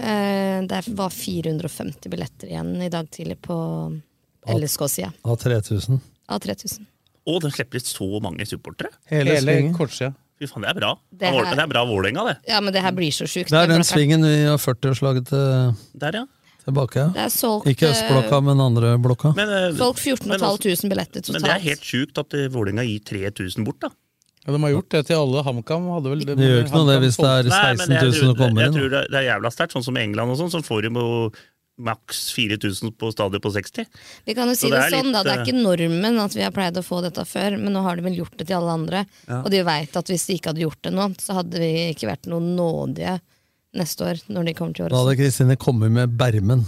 S6: Eh, Det var 450 billetter igjen i dag tidlig på LSK-sida
S5: Av 3000.
S6: av 3000.
S4: Å, de slipper ut så mange supportere.
S5: Hele,
S3: Hele
S5: svingen.
S3: kortsida.
S4: Fy faen, det er bra.
S6: Det
S4: Det er,
S6: er-
S4: det er bra Vålerenga, det.
S6: Ja, men det her blir så sjukt.
S5: Det er den
S6: Blakkaren.
S5: svingen vi har 40-årslaget til,
S4: Der, ja.
S5: til Bakøya.
S6: Det er solgt, eh,
S5: Ikke østblokka, men andre blokka.
S4: Men, eh,
S6: solgt 14
S4: men altså-
S6: 500 billetter totalt.
S4: Men det er helt sjukt at eh, Vålerenga gir 3000 bort, da.
S3: Ja, de har gjort det til alle. HamKam hadde vel
S5: Det gjør ikke noe det hvis det er
S4: Nei, men
S5: 16 000
S4: jeg
S5: som
S4: tror,
S5: kommer
S4: jeg
S5: inn.
S4: tror det, det er jævla sterkt. Sånn som England og sånn, så får de jo maks 4000 på stadion på 60.
S6: Vi kan jo
S4: Så
S6: si det,
S4: er litt,
S6: sånn, da. Det er
S4: eh,
S6: ikke normen at vi har pleid å få dette før, men nå har de vel gjort det til alle andre.
S4: Ja.
S6: Og de veit at hvis de ikke hadde gjort det nå, så hadde vi ikke vært noe nådige neste år når de kommer til
S5: Da hadde
S6: året.
S5: Kristine kommet med bermen.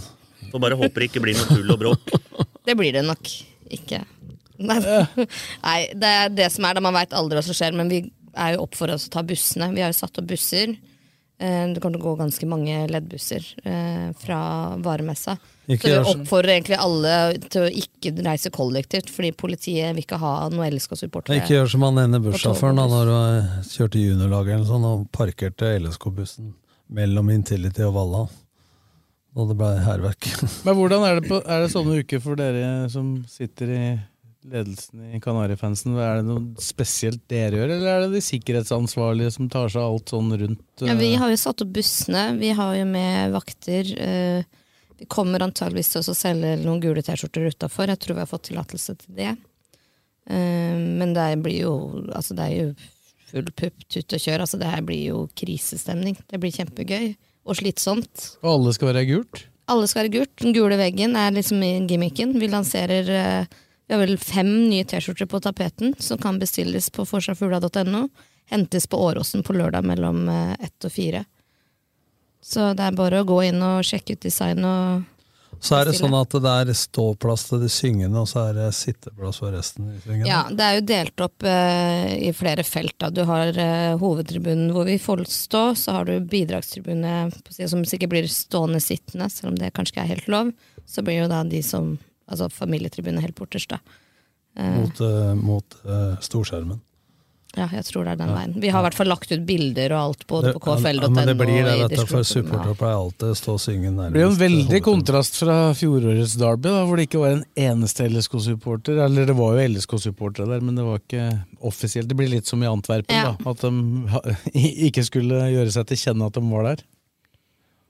S4: Så bare håper det ikke blir noe tull og bråk.
S6: Det blir det nok ikke. Nei, Nei det er det som er da man veit aldri hva som skjer, men vi er jo opp for oss å ta bussene. Vi har jo satt opp busser. Eh, Det kommer til å gå ganske mange leddbusser eh, fra varemessa.
S5: Ikke
S6: så vi
S5: gjør sånn.
S6: oppfordrer egentlig alle til å ikke reise kollektivt, fordi politiet vil ikke ha noe LSK-supportere.
S5: Ikke gjør som han ene
S6: på
S5: bussjåføren da
S6: togbuss.
S5: når han kjørte juniorlaget eller sånn, og parkerte LSK-bussen mellom Intility og Valhall. Og det ble hærverk.
S3: Men hvordan er det, på, er det sånne uker for dere som sitter i ledelsen i Kanarifansen? Er det noe spesielt dere gjør, eller er det de sikkerhetsansvarlige som tar seg av alt sånn rundt?
S6: Ja, vi
S3: eh,
S6: har jo satt opp bussene, vi har jo med vakter. eh, Vi kommer antageligvis til å selge noen gule T-skjorter utafor. Jeg tror vi har fått tillatelse til det. Eh, Men det blir jo Altså, det er jo full pupp, tut og kjør. Altså, det her blir jo krisestemning. Det blir kjempegøy og slitsomt.
S3: Og alle skal være i gult?
S6: Alle skal være gult. Den gule veggen er liksom i gimmicken. Vi lanserer eh, Vi har vel fem nye T-skjorter på tapeten, som kan bestilles på forsafugla.no. Hentes på Åråsen på lørdag mellom eh, ett og fire. Så det er bare å gå inn og sjekke ut design og
S5: Så er det
S6: bestille.
S5: sånn at det er ståplass til de syngende, og så er det sitteplass for resten. i svingen.
S6: Ja, det er jo delt opp eh, i flere felt. Da. Du har eh, hovedtribunen hvor vi får stå, så har du bidragstribunene på siden som sikkert blir stående sittende, selv om det kanskje ikke er helt lov. Så blir jo da de som Altså familietribunen helt borterst, da. Eh,
S5: Mot, eh, mot eh, storskjermen.
S6: ja, jeg tror det er den
S5: Ja.
S6: veien. Vi har i hvert fall lagt ut bilder og alt både på kfl.no.
S5: Ja, men det blir det,
S6: og i
S5: vet du, for
S6: Discord-gruppen, ja.
S5: supportere pleier alltid å stå og synge nærmest.
S3: Det blir jo en veldig kontrast fra fjorårets Derby, da, hvor det ikke var en eneste LSK-supporter. Eller det var jo LSK-supportere der, men det var ikke offisielt. Det blir litt som i Antwerpen,
S6: Ja.
S3: da. At de ha- ikke skulle gjøre seg til kjenne at de var der.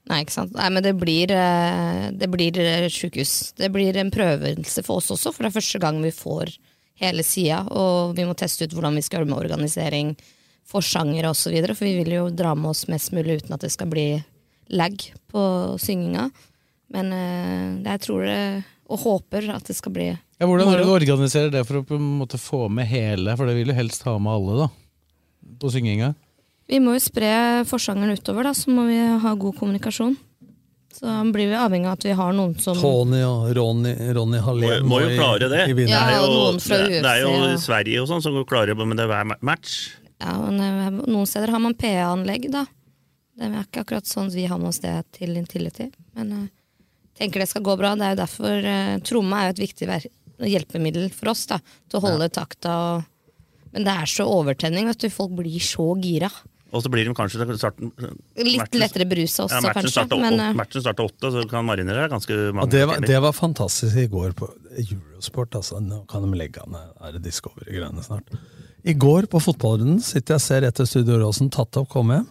S6: Nei, ikke sant. Nei, men det blir, eh, det blir eh, sjukehus. Det blir en prøvelse for oss også, for det er første gang vi får hele sida. Og vi må teste ut hvordan vi skal gjøre med organisering, forsanger osv. For vi vil jo dra med oss mest mulig uten at det skal bli lag på synginga. Men eh, jeg tror det, og håper at det skal bli
S3: Ja, hvordan er det du
S6: moro.
S3: organiserer det for å på en måte få med hele, for det vil jo helst ha med alle, da. På synginga.
S6: Vi må jo spre forsangeren utover, da, så må vi ha god kommunikasjon. Så blir vi avhengig av at vi har noen som
S5: Tony og Ronny, Ronny Hallén
S4: Må
S5: var
S4: jo
S5: i-
S4: klare det.
S5: i vinneren.
S6: Ja,
S4: det, er
S6: og
S4: jo,
S6: noen fra
S4: det, det er jo
S6: UFC, ja.
S4: Sverige og sånn som klarer det med det hver ma- match.
S6: Ja, men eh, noen steder har man PA-anlegg, da. Det er ikke akkurat sånn vi har med oss det til Intility. Men jeg tenker det skal gå bra. Det er jo derfor eh, Tromme er jo et viktig ver hjelpemiddel for oss, da. Til å holde takta og Men det er så overtenning, vet du. Folk blir så gira.
S4: Og så blir de kanskje starten,
S6: Litt lettere berusa også,
S4: ja, matchen
S6: kanskje,
S4: Starter,
S6: men, eh,
S4: åtte, matchen starter åtte, så kan marinere deg ganske
S5: Ja,
S4: mange
S5: det, var,
S4: timer.
S5: det var fantastisk i går på Eurosport. Altså, nå kan de legge an Er det Discovery-greiene snart? I går på fotballrunden sitter jeg og ser etter Studio Råsen tatt opp, komme hjem.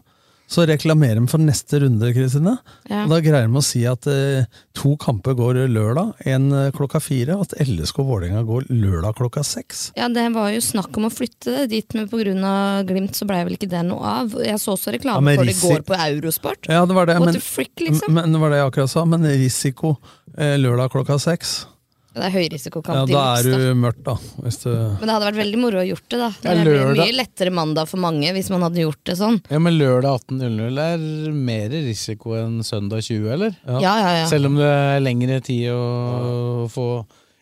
S5: Så reklamerer de for neste runde, Kristine.
S6: Ja.
S5: Og Da greier de å si at eh, to kamper går lørdag, én eh, klokka fire. og At LSK og Vålerenga går lørdag klokka seks.
S6: Ja, det var jo snakk om å flytte det dit, men pga. Glimt så blei vel ikke det noe av. Jeg så også
S5: Ja,
S6: reklame
S5: men
S6: for det i
S5: risi-
S6: går på Eurosport.
S5: Ja, det var det,
S6: What
S5: men,
S6: the frick, liksom?
S5: men, det var det jeg akkurat sa. Men risiko eh, lørdag klokka seks.
S6: Det er høyrisikokamp.
S5: Ja,
S6: de
S5: da
S6: luxe,
S5: er du mørkt, da. Hvis du
S6: Men det hadde vært veldig moro å gjort det, da.
S3: Ja,
S6: Det blir
S3: lørdag.
S6: mye lettere mandag for mange hvis man hadde gjort det sånn.
S3: Ja, Men lørdag 18.00 er mer risiko enn søndag 20, eller?
S6: Ja, ja, ja.
S3: Selv om det er lengre tid å få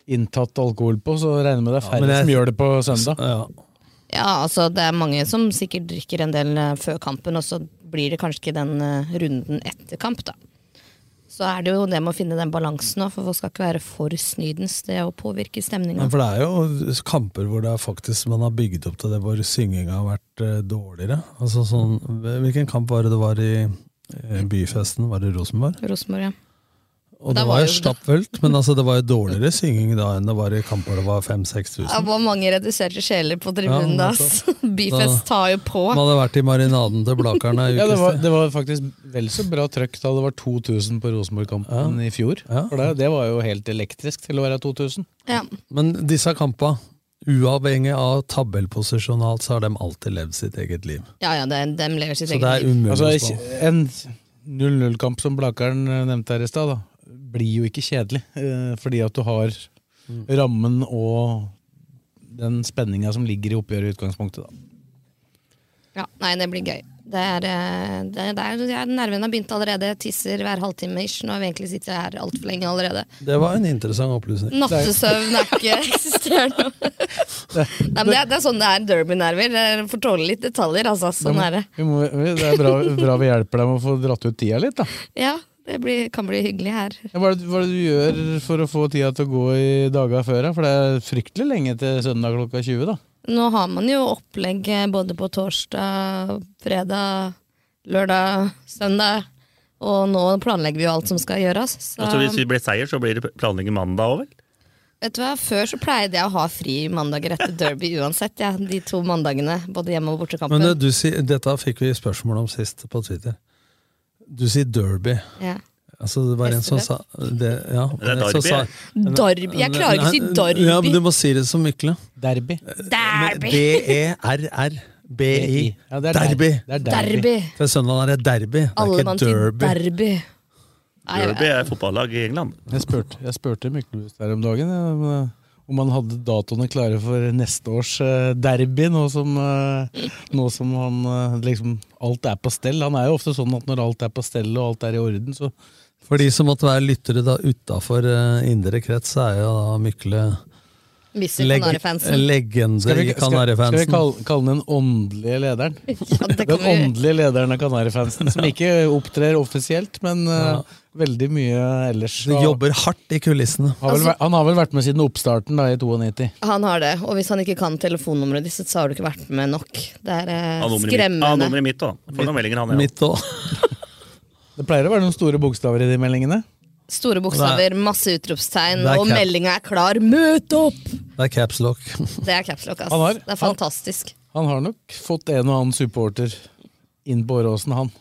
S3: inntatt alkohol på, så regner jeg med det er
S5: men
S3: færre
S5: jeg-
S3: som gjør det på søndag.
S6: Ja, altså det er mange som sikkert drikker en del eh, før kampen, og så blir det kanskje ikke den eh, runden etter kamp, da. Så er det jo det med å finne den balansen òg, for folk skal ikke være for snydens. Det å påvirke
S5: Ja,
S6: stemninga.
S5: for det er jo kamper hvor det er faktisk man har bygd opp til det hvor synginga har vært eh, dårligere. Altså sånn, Hvilken kamp var det det var i eh, byfesten? Var det Rosenborg?
S6: Rosenborg, ja.
S5: Og
S6: Da
S5: det
S6: var
S5: var jo
S6: jo-
S5: stappfullt, men altså, det var jo dårligere synging da enn det var i kamper det var 5000-6000.
S6: Det var mange reduserte sjeler på tribunen
S5: Ja,
S6: da.
S5: nettopp.
S6: ass. Byfest tar jo på.
S5: Man hadde vært i marinaden til Blakerne i
S3: Ja, det, var,
S5: ukes.
S3: det var faktisk vel så bra trøkk da det var 2000 på Rosenborg-kampen i fjor. For det, det var jo helt elektrisk til å være 2000.
S6: Ja.
S5: Men disse kampene, uavhengig av tabellposisjonalt, så har de alltid levd sitt eget liv.
S6: ja ja, det, dem lever sitt
S5: Så
S6: eget
S5: det er
S6: liv.
S5: umulig å
S3: Altså,
S5: spå.
S3: en 0-0-kamp som Blakeren eh, nevnte her i stad, da. blir jo ikke kjedelig, eh, fordi at du har Mm. rammen og den spenninga som ligger i oppgjøret i utgangspunktet. Da.
S6: Ja, nei, det blir gøy. Det er, eh, det er, det er, jeg- nervene har begynt allerede. Jeg Tisser hver halvtime ish. Nå har vi egentlig sittet her altfor lenge allerede.
S5: Det var en interessant opplysning.
S6: Nattesøvn er ikke eksisterende. Nei, men det, er, det er sånn det er derbynerver. Dere får tåle litt detaljer, altså. Sånn er det.
S3: Vi må, vi- det er bra, bra vi hjelper deg med å få dratt ut tida litt, da.
S6: Ja, det blir, kan bli hyggelig her.
S3: Ja, Hva er, det, hva er det du gjør for å få tida til å gå i daga før? da? For det er fryktelig lenge til søndag klokka 20. da.
S6: Nå har man jo opplegg eh, både på torsdag, fredag, lørdag, søndag. Og nå planlegger vi jo alt som skal gjøres. Så
S4: Altså, hvis vi blir seier, så blir det planlegging mandag òg, vel?
S6: vet du hva, Før så pleide jeg å ha fri mandager etter derby uansett. Ja, de to mandagene, både hjemme- og bortekampen.
S5: Men eh, du sier, dette fikk vi spørsmål om sist på Twitter. Du sier derby.
S6: Ja.
S5: Altså, det var en som sa det, ja,
S4: Det er
S5: en som
S4: derby,
S5: sa-
S6: Derby. Jeg klarer ikke å si
S5: eh, Nei, eh,
S6: derby.
S5: Ja, men du må si det som Mykle. E
S3: Derby.
S6: Derby!
S5: D-e-r-r-b-i.
S3: Eh, Ja, det er
S5: Derby.
S3: der- det er
S6: derby. Derby.
S5: For søndag er det derby, det
S6: Alle
S5: er
S6: vant
S5: ikke
S6: i
S5: derby.
S6: derby. Nei, jeg-
S4: Derby er fotballag i England.
S3: Jeg spurte, jeg spurte Myklebust her om dagen ja, om, eh, om han hadde datoene klare for neste års eh, derby, nå som, eh, nå som han, eh, liksom, alt er på stell. Han er jo ofte sånn at når alt er på stell og alt er i orden, så
S5: For de som måtte være lyttere da utafor indre krets, så er jo da Mykle
S6: Mister
S5: leg-
S6: Kanarifansen.
S5: legende i
S3: skal vi
S5: Kanarifansen.
S3: kalle, kalle den åndelige lederen?
S6: det kan
S3: den
S6: vi gjøre.
S3: åndelige lederen av Kanarifansen, som ikke opptrer offisielt, men eh, veldig mye ellers.
S5: De jobber hardt i kulissene.
S3: Har vel,
S6: Altså-
S3: vært- han har vel vært med siden oppstarten da, i 92.
S6: Han har det. Og hvis han ikke kan telefonnummeret ditt, så har du ikke vært med nok. Det er eh,
S4: Han nummer i mitt- han
S6: skremmende.
S4: nummer i mitt òg. Får noen meldinger, han
S5: Mitt òg.
S3: Det pleier å være noen store bokstaver i de meldingene.
S6: Store bokstaver, masse utropstegn,
S5: Det er
S6: og
S5: cap.
S6: meldinga er klar. Møt opp!
S5: Det er caps lock.
S6: Det er capslock, ass.
S3: Han har-
S6: det er fantastisk.
S3: Han har nok fått en og annen supporter inn på Åråsen, han.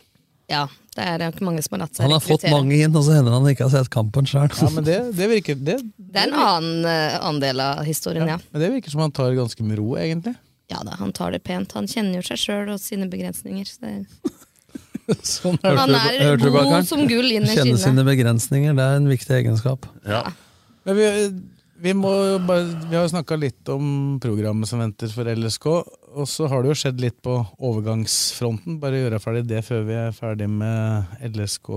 S6: Ja, det er jo ikke mange som har latt seg
S5: Han har fått
S6: rekruttere.
S5: mange inn, og så hender han ikke har sett kampen sjøl.
S3: Ja, men det, det virker, det,
S6: Det er en annen eh, annen del av historien, ja.
S3: men det virker som han tar ganske med ro, egentlig.
S6: Ja da, han tar det pent. Han kjenner jo seg sjøl og sine begrensninger. Så det er...
S3: Sånn er det.
S6: Han er god som gull inn i
S5: Kjenne
S6: kinnet.
S5: sine begrensninger, det er en viktig egenskap.
S4: Ja.
S3: Men vi, vi, må jo bare, vi har jo snakka litt om programmet som venter for LSK, og så har det jo skjedd litt på overgangsfronten. Bare gjøre ferdig det før vi er ferdig med LSK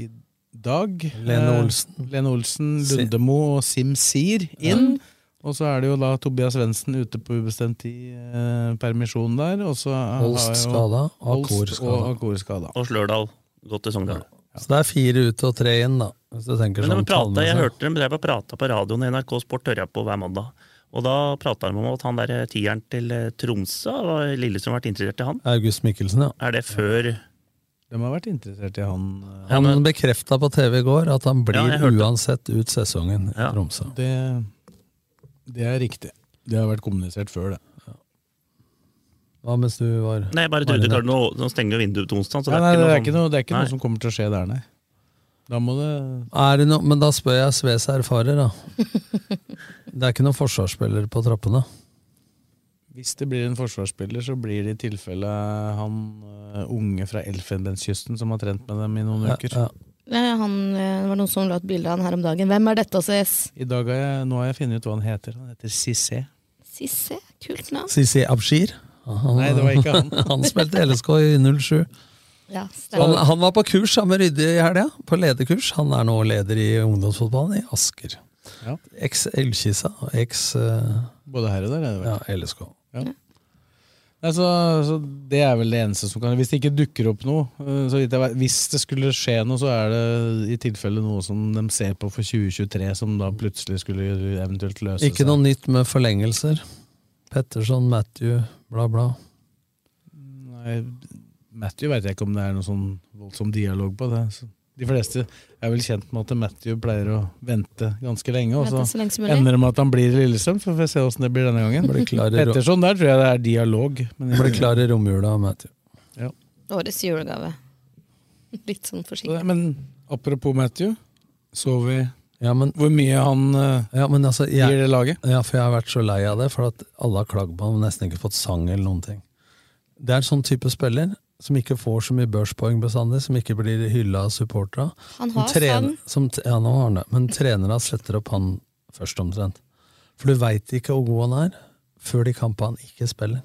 S3: i dag.
S5: Lene
S3: Eh,
S5: Olsen.
S3: Lene Olsen, Lundemo og Sim Sier inn. Og så er det jo da Tobias Svendsen ute på ubestemt tid, eh, permisjon der. Og så har
S5: Holst
S3: jo-
S5: skada og
S3: Holst
S5: Kor skada.
S3: og Akor skada.
S4: Og Slørdal. Gått til Sogndal.
S5: Så det er fire ute og tre inn, da. Hvis du tenker
S4: Men de
S5: sånn
S4: pratet, jeg
S5: tallmessig.
S4: hørte dem drev og prata på radioen i NRK Sport hører jeg på hver mandag. Og da prata de om at han der tieren til eh, Tromsø og Lillestrøm har vært interessert i han.
S5: August Mikkelsen, ja.
S4: Er det før
S3: De har vært interessert i han. eh,
S4: Ja,
S5: Han
S4: men-
S5: bekrefta på TV i går at
S4: Ja,
S5: han blir
S4: jeg hørte.
S5: uansett ut sesongen i
S4: Ja.
S5: Tromsø.
S3: Det, det er riktig. Det har vært kommunisert før, det.
S5: Hva mens du var
S4: Nei, jeg bare trodde klart, nå, nå stenger jo vinduet på onsdag, så
S3: Nei, nei, det er ikke
S4: sånn-
S3: noe, det er ikke
S4: Nei.
S3: noe som kommer til å skje der, nei. Da må det
S5: er det noe, Men da spør jeg Sves erfarer, da. Det er ikke noen forsvarsspillere på trappene.
S3: Hvis det blir en forsvarsspiller, så blir det i tilfelle han eh, unge fra Elfenbenskysten som har trent med dem i noen
S5: Ja,
S3: uker.
S5: ja.
S6: Ja, Han, eh, det var noen som la et bilde av han her om dagen. Hvem er dette altså? å ses?
S3: I dag har jeg, nå har jeg funnet ut hva han heter. Han heter Cissé.
S6: Sisse? Kult navn.
S5: Sisi Abshir. Han,
S3: Nei, det var ikke han.
S5: han spilte LSK i 07.
S6: Ja,
S5: Han,
S6: stemmer.
S5: han var på kurs sammen med Rydde i helga, på lederkurs. Han er nå leder i ungdomsfotballen i Asker.
S3: Ja.
S5: Eks Ullkisa og eks eh,
S3: Både her og der. Er det vel.
S5: ja, LSK.
S3: Nei, så, så det er vel det eneste som kan Hvis det ikke dukker opp noe eh, så vidt jeg vet, Hvis det skulle skje noe, så er det i tilfelle noe som de ser på for 2023, som da plutselig skulle eventuelt løse
S5: Ikke
S3: seg.
S5: noe nytt med forlengelser. Petterson, Matthew, bla, bla.
S3: Nei, Matthew vet jeg ikke om det er noen sånn voldsom dialog på. det. Så de fleste er vel kjent med at Matthew pleier å vente ganske lenge,
S5: Altså,
S3: og
S6: Vente
S3: så
S6: så lenge som mulig.
S3: ender det med at han blir i Lillestrøm. Så får vi se åssen det blir denne gangen.
S5: Blir klar i, ro
S3: Petterson, der tror jeg det er dialog. Men
S5: blir klar i romjula, Matthew.
S6: Årets julegave. Litt sånn forsiktig.
S3: men apropos Matthew, så vi
S5: Ja, men,
S3: hvor mye han eh,
S5: ja, men altså
S3: gir
S5: jeg,
S3: det laget.
S5: ja, for jeg har vært så lei av det, for at alle har klagd på ham og nesten ikke fått sang eller noen ting. Det er en sånn type spiller Som ikke får så mye børspoeng bestandig, som ikke blir hylla av supporterne.
S6: Han
S5: Som
S6: har sånn-
S5: trener-
S6: sang.
S5: som t- Ja, nå har han det. Men trenerne setter opp han først, omtrent. For du veit ikke hvor god han er før de kampene han ikke spiller.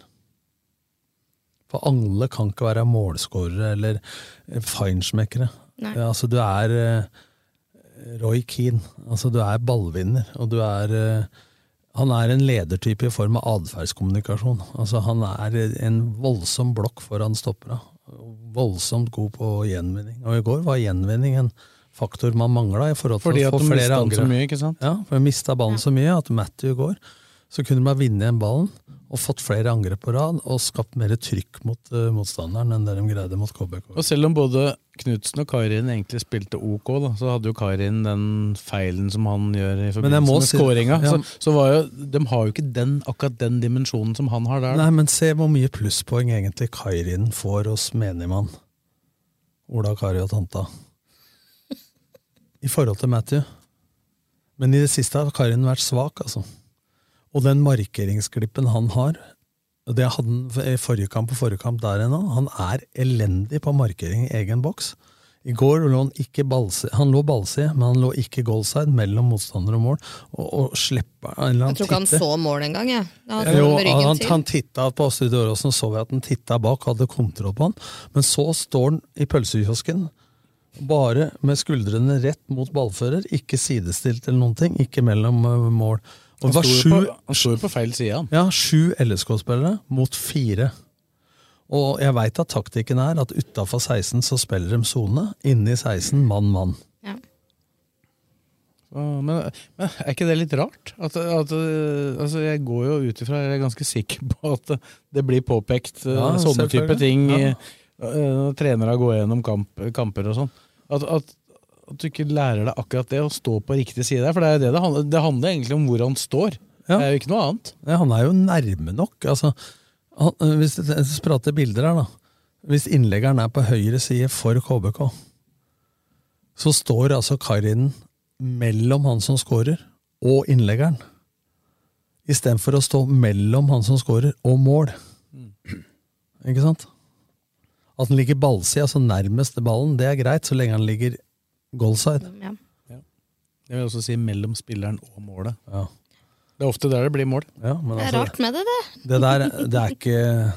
S5: For alle kan ikke være målskårere eller eh, feinschmeckere.
S6: Nei.
S5: Ja, Altså, du er eh, Roy Keane. Altså, du er ballvinner, og du er eh, han er en ledertype i form av atferdskommunikasjon. Altså, han er en voldsom blokk foran stoppera. Voldsomt god på gjenvinning. Og i går var gjenvinning en faktor man mangla.
S3: Fordi at
S5: å få
S3: de mistet
S5: flere
S3: den så
S5: angre.
S3: mye, ikke sant?
S5: Ja, for jeg mista ballen så mye at Matthew i går så kunne man vinne igjen ballen og fått flere angrep på rad og skapt mer trykk mot eh, motstanderen enn det de greide mot KBK.
S3: Og selv om både Knutsen og Karin egentlig spilte ok, da, så hadde jo Karin den feilen som han gjør i
S5: Men jeg
S3: forbindelse
S5: må
S3: med
S5: si-
S3: skåringa.
S5: Ja.
S3: Så, så var jo, de har jo ikke den, akkurat den dimensjonen som han har der. da.
S5: Nei, men se hvor mye plusspoeng egentlig Kairin får hos menigmann. Ola Kari og tanta. I forhold til Matthew. Men i det siste har Kairin vært svak, altså. Og den markeringsklippen han har, og det hadde han i forrige kamp og forrige kamp der ennå, han er elendig på markering i egen boks. I går lå han ikke ballside, han lå ballside, men han lå ikke goalside mellom motstander og mål, og, og slipper en eller annen
S6: Jeg tror ikke han
S5: titter.
S6: så mål engang. jeg. Da hadde
S5: Jo,
S6: han med ryggen
S5: han,
S6: til.
S5: han titta på Studio Åråsen, så vi at han titta bak, hadde kontroll på han. Men så står han i pølsekiosken, bare med skuldrene rett mot ballfører, ikke sidestilt eller noen ting, ikke mellom eh, mål. Og
S3: Han
S5: det var
S3: sto jo
S5: sju,
S3: på, han sto jo på feil side, han.
S5: ja, sju LSK-spillere mot fire. Og jeg veit at taktikken er at utafor 16 så spiller de sone, inne i 16 mann-mann.
S3: Ja, Men, men er ikke det litt rart? At, at, øh, altså jeg går jo ut ifra, jeg er ganske sikker på at det blir påpekt øh,
S5: Ja,
S3: sånne type
S5: selvfølgelig.
S3: ting
S5: Ja.
S3: øh, øh, når trenere går gjennom kamp, kamper og sånn. At, at, at du ikke lærer deg akkurat det, å stå på riktig side der. For det er jo det det handler, det handler egentlig om hvor han står. Det er jo ikke noe annet.
S5: Nei, han er jo nærme nok. Altså, han, øh, hvis det- jeg skal prate bilder her, da. Hvis innleggeren er på høyre side for KBK, så står altså Karinen mellom han som scorer, og innleggeren. Istedenfor å stå mellom han som scorer, og mål. Ikke sant? At han ligger ballsida, altså nærmest ballen, det er greit, så lenge han ligger goalside.
S6: Ja.
S3: Jeg vil også si mellom spilleren og målet.
S5: Ja.
S3: Det er ofte der det blir mål.
S5: Ja, men
S6: Det er
S5: altså-
S6: rart med det, det.
S5: Det der det er ikke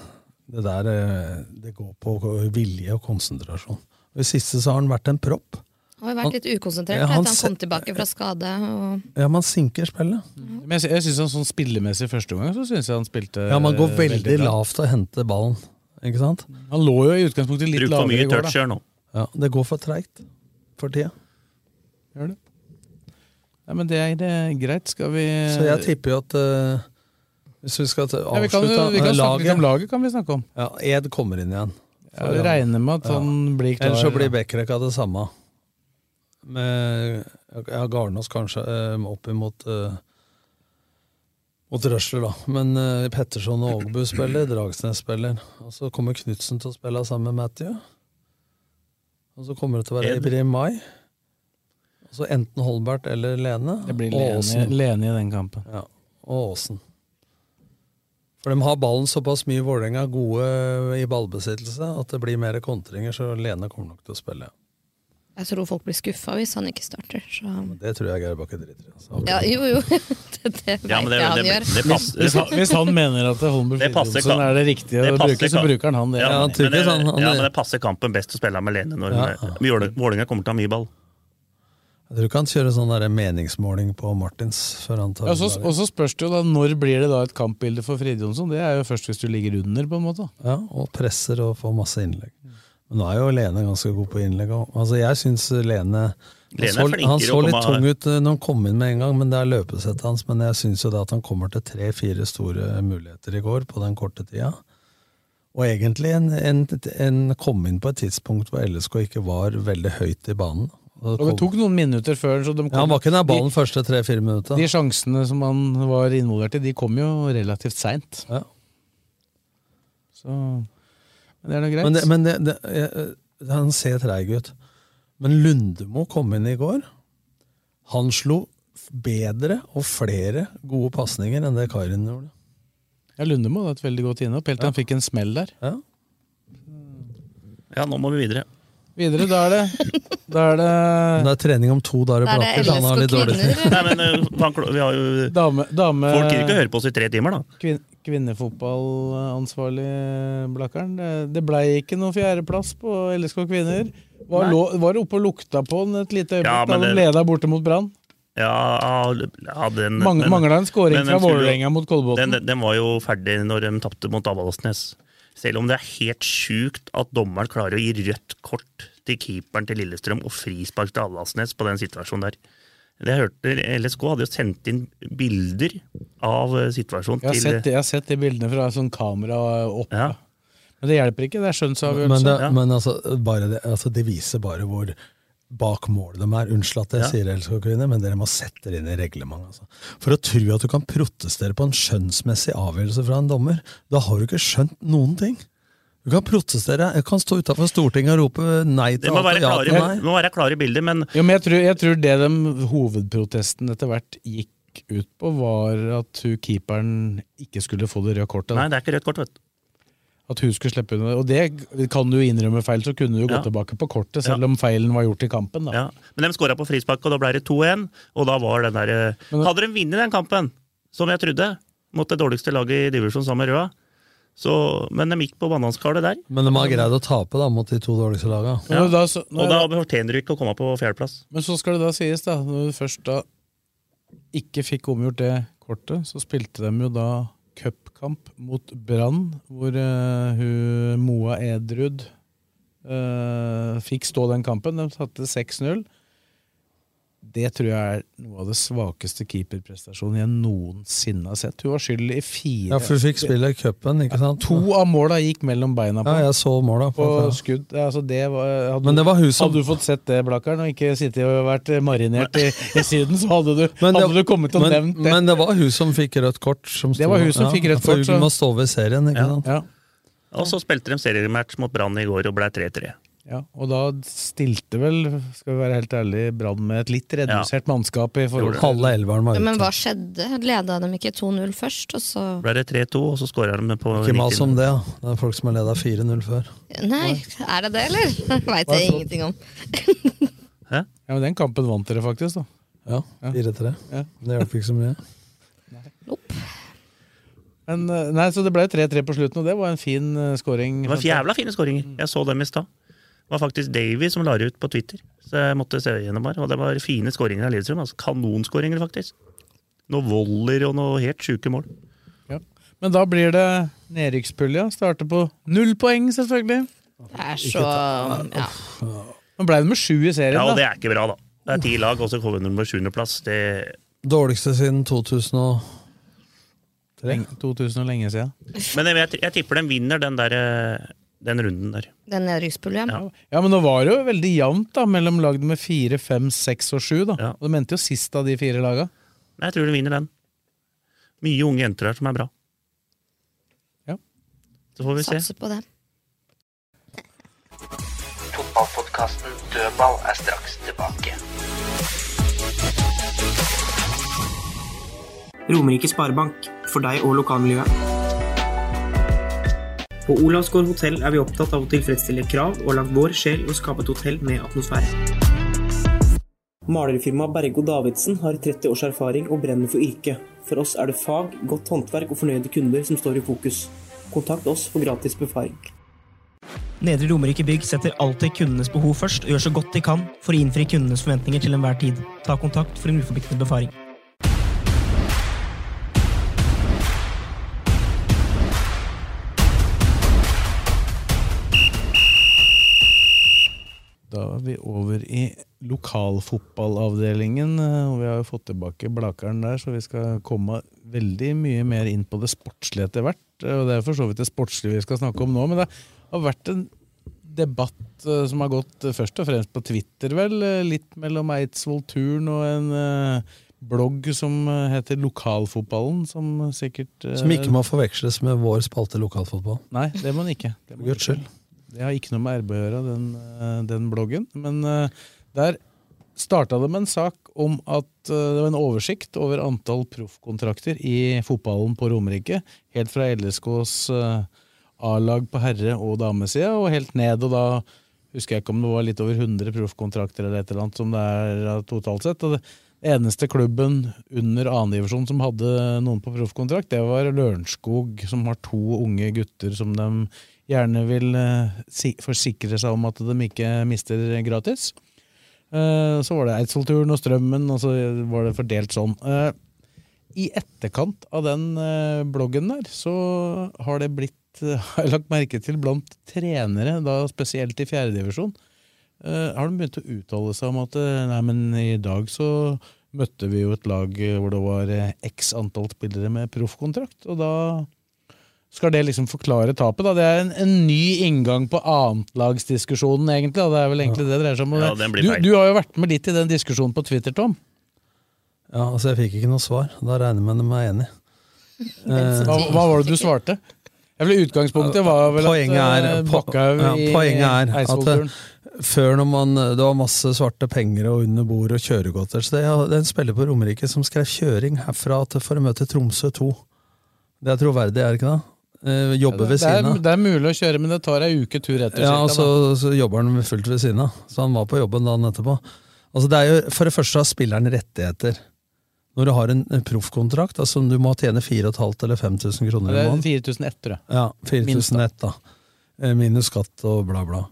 S5: Det der eh, det går på vilje og konsentrasjon. I det siste så har han vært en propp.
S6: Han har jo
S5: Han-
S6: vært litt ukonsentrert
S5: Ja,
S6: etter
S5: han
S6: han
S5: se-
S6: kom tilbake fra skade. Og
S5: Ja, Man sinker spillet.
S3: Men jeg, sy- jeg synes han sånn spillemessig første gang, så synes jeg han spilte
S5: Ja, Man går
S3: øh,
S5: veldig,
S3: bra.
S5: lavt og henter ballen. Ikke sant?
S3: Han lå jo i utgangspunktet litt
S4: Bruk for
S3: lavere
S4: mye
S3: i går, da.
S4: touch her nå.
S5: Ja, Det går for treigt for tida.
S3: Gjør det. Nei, men det er, det er greit. Skal vi
S5: Så jeg tipper jo at eh, hvis vi skal ta-
S3: ja, vi kan,
S5: avslutte
S3: vi kan
S5: eh,
S3: snakke litt om
S5: laget
S3: laget, kan vi snakke om.
S5: ja, Ed kommer inn igjen.
S3: Ja, vi regner med at han blir klar.
S5: Ellers så blir Bekkerekka det samme. Med ja, Garnås kanskje eh, opp imot eh, mot Røsler, da. Men eh, Petterson og Ågbu spiller, Dragsnes spiller. Og så kommer Knutsen til å spille sammen med Matthew. Og så kommer det til å være
S3: Ed.
S5: Ibrahim Mai. Og så enten Holbert eller Lene.
S3: det blir
S5: og
S3: Lene,
S5: Aasen.
S3: Lene i den kampen.
S5: Ja, og Aasen. For de har ballen såpass mye i Vålerenga, gode i ballbesittelse, at det blir mer kontringer, så Lene kommer nok til å spille.
S6: jeg tror folk blir skuffa hvis han ikke starter. Så.
S5: Det tror jeg Geir Bakke driter i. altså.
S6: Ja, jo, jo. Det, det vet
S4: Ja, men det-
S6: jeg han
S4: det-
S6: gjør.
S4: det passer-
S3: Hvis, han- hvis han mener at Holmberg
S4: Det passer
S3: Fridtjofsen
S4: Ka-
S3: er det riktige
S4: det
S3: å
S4: passer
S3: bruke, så
S4: Ka-
S3: bruker han han det.
S4: Ja,
S5: Ja,
S4: men, det,
S5: tydeligvis, han- sånn, han-
S4: ja, men det passer kampen best å spille med Lene. når
S5: Ja.
S4: hun- Våle- Vålerenga kommer til å ha mye ball.
S5: Jeg tror ikke han kjører sånn der meningsmåling på Martins før han tar
S3: Ja, og så- og så spørs det jo da når blir det da et kampbilde for Fride Jonsson. Det er jo først hvis du ligger under, på en måte.
S5: Ja, og presser og får masse innlegg. Men nå er jo Lene ganske god på innlegg òg. Altså, jeg syns
S4: Lene er
S5: Lene han så,
S4: flinkere
S5: han så
S4: å
S5: litt
S4: komme-
S5: tung ut eh, når han kom inn med en gang, men det er løpesettet hans. Men jeg syns jo det at han kommer til tre-fire store muligheter i går på den korte tida. Og egentlig en, en, en kom inn på et tidspunkt hvor LSK ikke var veldig høyt i banen. Og
S3: Og det
S5: kom,
S3: tok noen minutter før, så de
S5: ja, han var ikke nær
S3: de-
S5: ballen første tre-fire minutta.
S3: De sjansene som han var involvert i, de kom jo relativt seint.
S5: Ja.
S3: Så Men det er da greit.
S5: Men, det, men det, det, jeg- jeg- han ser treig ut. Men Lundemo kom inn i går. Han slo f- bedre og flere gode pasninger enn det Karin gjorde.
S3: ja, Lundemo hadde et veldig godt innhopp, helt til han fikk en smell der.
S5: Ja.
S4: Ja, nå må vi videre.
S3: Videre, da er det Da er det
S5: Men det er trening om to dager
S6: Da er
S5: på
S6: det
S5: Aker, så han har litt dårlig tid.
S4: Nei, men eh, man, kl- vi har jo
S3: dame, dame
S4: Folk gidder ikke å høre på oss i tre timer, da.
S3: Kvin kvinnefotballansvarlig Blakkaren. Det, det blei ikke noen fjerdeplass på LSK kvinner. Var,
S4: Nei.
S3: lå, var oppe og lukta på den et lite øyeblikk
S4: Ja,
S3: da
S4: men
S3: de
S4: det-
S3: leda borte mot Brann.
S4: Ja, ah, ja, den
S3: Mang-
S4: men-
S3: manglet en scoring
S4: men den
S3: fra
S4: skulle jo-
S3: Vålerenga mot Kolbotn.
S4: Den, den, den var jo ferdig når de tapte mot Avaldsnes. Selv om det er helt sjukt at dommeren klarer å gi rødt kort til keeperen til Lillestrøm og frispark til Avaldsnes på den situasjonen der. Det jeg hørte LSK hadde jo sendt inn bilder av eh, situasjonen
S3: Jeg har,
S4: til
S3: sett, jeg har sett de bildene fra sånn kamera oppe.
S4: Ja.
S3: Men det hjelper ikke, det er skjønnsavgjørelse.
S5: Men, det,
S3: Ja.
S5: men altså, bare det, altså, det viser bare hvor bak mål de er. Unnskyld at jeg
S3: Ja.
S5: sier det, elsker kvinner, men dere må sette det inn i reglementet. Altså. For å tro at du kan protestere på en skjønnsmessig avgjørelse fra en dommer, da har du ikke skjønt noen ting. Du kan protestere, jeg kan stå utafor Stortinget og rope nei
S4: Det
S5: til
S4: må
S5: alt
S4: være
S5: og ja
S4: klare,
S5: til nei.
S4: det må være klare bilder, men
S3: Jo, men jeg tror, jeg tror det dem hovedprotesten etter hvert gikk ut på, var at hun keeperen ikke skulle få det røde kortet.
S4: Nei, det er ikke rødt kort, vet du.
S3: At hun skulle slippe unna. Og det kan du innrømme feil, så kunne du gå
S4: Ja.
S3: tilbake på kortet, selv om feilen var gjort i kampen. Da.
S4: Ja. Men de skåra på frispark, og da ble det 2-1. Og da var den der eh, Hadde de vunnet den kampen, som jeg trodde, mot det dårligste laget i divisjon sammen med Røa så, Men de gikk på bananskallet der.
S5: Men de har greid å tape da, mot de to dårligste laga.
S4: Ja.
S3: Men da så- nå
S4: og da
S3: er
S4: fortjener du ikke å komme på fjerdeplass.
S3: Men så skal det da sies, da, når du først da ikke fikk omgjort det kortet, så spilte de jo da cupkamp mot Brann, hvor eh, hun Moa Edrud eh, fikk stå den kampen. De satte 6-0. Det tror jeg er noe av det svakeste keeperprestasjonen jeg noensinne har sett. Hun var skyld i fire
S5: Ja, for du fikk spille i cupen, ikke sant?
S3: To av måla gikk mellom beina på
S5: Ja, jeg så måla.
S3: på skudd. Ja, Altså det var, hadde,
S5: Men det var hun som-
S3: hadde du fått sett det, Blakkaren, og ikke sittet og vært marinert i, i Syden, så hadde du,
S5: Men det-
S3: hadde du kommet til å
S5: men-
S3: nevnt det.
S5: Men det var hun som fikk rødt kort. Som
S3: Det var hun som fikk rødt
S5: For
S3: kort, så-
S5: hun må stå ved serien, ikke sant?
S4: Og så spilte de seriematch mot Brann i går og ble 3-3.
S3: Ja, og da stilte vel, skal vi være helt ærlig, Brann med et litt redusert mannskap i forhold
S5: Halve elveren var
S6: Ja, men
S3: ute.
S6: hva skjedde? Leda dem ikke 2-0 først, og så
S4: Ble det 3-2, og så skåra de på
S5: Ikke mas
S4: 90.
S5: om det, ja. Det er folk som har leda 4-0 før.
S6: Nei, er det det, eller? Veit jeg ingenting om.
S3: Ja, men den kampen vant dere faktisk, da.
S5: Ja, 4-3.
S3: Ja.
S5: Men Det hjelper ikke så mye.
S3: Men, eh, nei, så det ble 3-3 på slutten, og det var en fin eh, scoring.
S4: Det var jævla fine skåringer. Jeg så dem i stad. Det var faktisk Davy som la det ut på Twitter, så jeg måtte se gjennom her. Og det var fine skåringer av Lillestrøm. Altså kanonskåringer, faktisk. Noe voller og noe helt sjuke mål.
S3: Ja. Men da blir det nedrykkspulja. Starter på null poeng, selvfølgelig.
S6: Det er så Ja.
S3: Nå ble det med sju i serien,
S4: Ja, og det
S3: da.
S4: er ikke bra, da. Det er ti lag, og så kommer de på sjuendeplass. Det
S5: Dårligste siden 2000 og
S3: Lenge- 2000 og lenge siden.
S4: Men jeg, vet- jeg tipper de vinner den der eh, den runden der.
S6: Den nedrykkspuljen.
S4: Ja.
S3: Ja, men nå var det jo veldig jevnt da, mellom lag nummer fire, fem, seks og sju. da. Og De endte jo sist av de fire laga.
S4: Nei, jeg tror de vinner den. Mye unge jenter her som er bra.
S3: Ja.
S4: Så får vi se.
S6: Satser på det.
S2: Fotballpodkasten Dødball er straks tilbake.
S1: Romerike Sparebank, for deg og lokalmiljøet. På Olavsgård hotell er vi opptatt av å tilfredsstille krav og har lagt vår sjel i å skape et hotell med atmosfære. Malerfirmaet Bergo Davidsen har 30 års erfaring og brenner for yrket. For oss er det fag, godt håndverk og fornøyde kunder som står i fokus. Kontakt oss for gratis befaring.
S7: Nedre Romerike Bygg setter alltid kundenes behov først og gjør så godt de kan for å innfri kundenes forventninger til enhver tid. Ta kontakt for en uforpliktende befaring.
S3: Da er vi over i lokalfotballavdelingen, eh, og vi har jo fått tilbake Blakeren der, så vi skal komme veldig mye mer inn på det sportslige etter hvert. eh, Og det er for så vidt det sportslige vi skal snakke om nå, men det har vært en debatt eh, som har gått eh, først og fremst på Twitter, vel. eh, Litt mellom Eidsvoll Turn og en eh, blogg som eh, heter Lokalfotballen, som sikkert eh,
S5: Som ikke må forveksles med vår spalte lokalfotball.
S3: Nei, det må den ikke. Det må den
S5: Guds skyld.
S3: ikke. Det har ikke noe med RB å gjøre, den, eh, den bloggen. Men eh, der starta det med en sak om at eh, det var en oversikt over antall proffkontrakter i fotballen på Romerike. Helt fra LSKs eh, A-lag på herre- og damesida, og helt ned. og da husker jeg ikke om det var litt over 100 proffkontrakter eller et eller annet som det er eh, totalt sett. og det eneste klubben under annendivisjon som hadde noen på proffkontrakt, det var Lørenskog, som har to unge gutter som de gjerne vil eh, si- forsikre seg om at de ikke mister gratis. Eh, Så var det Eidsvollturen og Strømmen, og så var det fordelt sånn. Eh, I etterkant av den eh, bloggen der, så har det blitt eh, har jeg lagt merke til blant trenere, da spesielt i fjerdedivisjon, har de begynt å uttale seg om at eh, nei, men i dag så møtte vi jo et lag eh, hvor det var eh, x antall spillere med proffkontrakt, og da skal det liksom forklare tapet? da? Det er en, en ny inngang på annetlagsdiskusjonen, egentlig. Da. Det er vel egentlig det det dreier seg om. og
S4: Ja,
S3: det-
S4: den blir
S3: du,
S4: feil.
S3: du har jo vært med litt i den diskusjonen på Twitter, Tom.
S5: Ja, altså Jeg fikk ikke noe svar. Da regner jeg med de er enig.
S3: Hva, hva var det du svarte? Jeg ble Utgangspunktet var vel
S5: poenget
S3: at
S5: er,
S3: eh,
S5: po
S3: Bakkhaug
S5: ja,
S3: i
S5: poenget er at
S3: Eidsvollturen-
S5: eh, før når man, det var masse svarte penger og under bord og kjøregodter så det, er- det er en spiller på Romerike som skrev 'kjøring herfra til for å møte Tromsø 2'. Det er troverdig, er det ikke det? Eh, jobber ved
S3: det, er,
S5: siden av.
S3: det er mulig å kjøre, men det tar ei uke tur etter.
S5: Ja, altså,
S3: cirka,
S5: og
S3: da.
S5: så, så jobber han fullt ved siden av. Så han var på jobben dagen etterpå. Altså det er jo, For det første har spilleren rettigheter. Når du har en en proffkontrakt, altså om du må tjene 4500 eller 5000 kroner
S3: det
S5: i
S3: er
S5: måneden
S3: 4001, tror jeg.
S5: Ja,
S3: Minst,
S5: 4000
S3: da.
S5: nett, da. Eh, Minus skatt og bla, bla.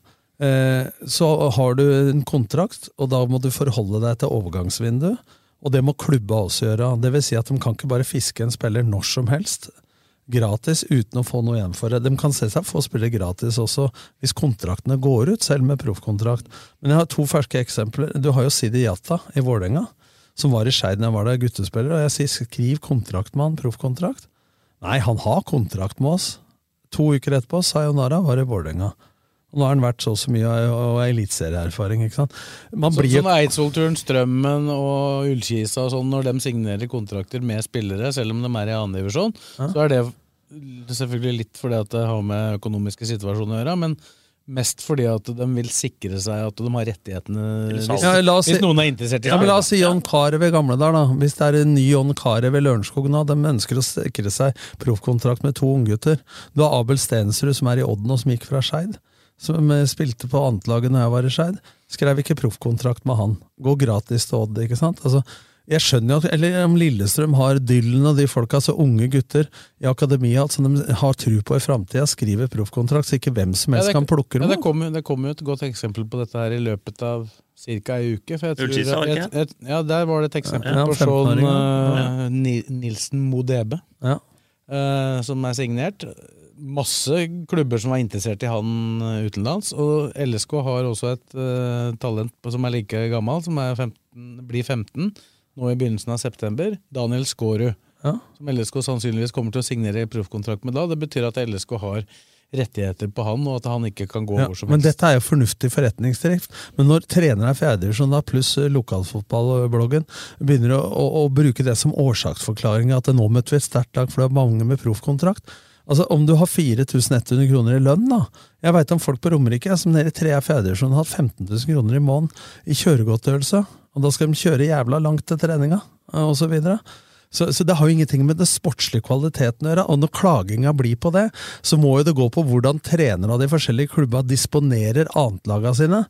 S5: Eh, Så har du en kontrakt, og da må du forholde deg til overgangsvinduet. Og det må klubba også gjøre. Det vil si at de kan ikke bare fiske en spiller når som helst. Gratis uten å få noe igjen for det. De kan se seg få spillere gratis også, hvis kontraktene går ut, selv med proffkontrakt. Men jeg har to ferske eksempler. Du har jo Sidi Jata i Vålerenga, som var i Skeid da jeg var der, guttespiller. Og jeg sier skriv kontrakt med han, proffkontrakt. Nei, han har kontrakt med oss. To uker etterpå, sayonara, var i Vålerenga. Og Nå har han vært så og så mye og og eliteserieerfaring, ikke sant. Man
S3: Så,
S5: blir jo
S3: sånn Eidsvollturen, Strømmen og Ullkisa og sånn, når de signerer kontrakter med spillere, selv om de er i annen divisjon, så er det selvfølgelig litt fordi at det har med økonomiske situasjoner å gjøre, men mest fordi at de vil sikre seg at de har rettighetene hvis,
S5: Ja, la oss si-
S3: hvis noen er interessert i
S5: ja, men La
S3: spillere.
S5: oss si John Carew i gamle der, da. Hvis det er en ny John Carew ved Lørenskog nå, de ønsker å sikre seg proffkontrakt med to unggutter. Du har Abel Stensrud som er i Odden og som gikk fra Skeid. Som eh, spilte på annetlaget når jeg var i Skeid. Skrev ikke proffkontrakt med han. Gå gratis til Odd, ikke sant? Altså, jeg skjønner jo at, eller om Lillestrøm har Dylan og de folka, altså unge gutter i akademia som de har tro på i framtida, skriver proffkontrakt, så ikke hvem som
S3: Ja,
S5: helst
S3: det-
S5: kan plukke
S3: ja,
S5: dem.
S3: det, kom, jo- det kom jo et godt eksempel på dette her i løpet av ca. ei uke. For jeg tror,
S4: Ullkisa, var det
S3: jeg,
S4: ikke?
S3: jeg, ja, der var det et eksempel
S4: Ja,
S3: på
S4: 15-åringen,
S3: sånn
S4: ja.
S3: eh, Ni- Nilsen Modebe,
S5: Ja.
S3: eh, som er signert. Masse klubber som var interessert i han eh, utenlands. Og LSK har også et eh, talent på- som er like gammel, som er 15, blir 15 nå i begynnelsen av september. Daniel Skårud. Som LSK sannsynligvis kommer til å signere proffkontrakt med da. Det betyr at LSK har rettigheter på han, og at han ikke kan gå
S5: Ja,
S3: hvor som
S5: men
S3: helst.
S5: dette er jo fornuftig forretningsdrift. Men når treneren er fjerdedivisjon, da, pluss eh, lokalfotballbloggen, begynner å, å, å bruke det som årsaksforklaring at nå møtte vi et sterkt lag, for det er mange med proffkontrakt. Altså, Om du har 4100 kroner i lønn, da Jeg veit om folk på Romerike som nede i tre er fjerdedivisjon har hatt 15 000 kroner i måneden i kjøregodtgjørelse, og da skal de kjøre jævla langt til treninga, eh, og så videre. Så, så det har jo ingenting med den sportslige kvaliteten å gjøre. Og når klaginga blir på det, så må jo det gå på hvordan trenere av de forskjellige klubba disponerer annetlaga sine.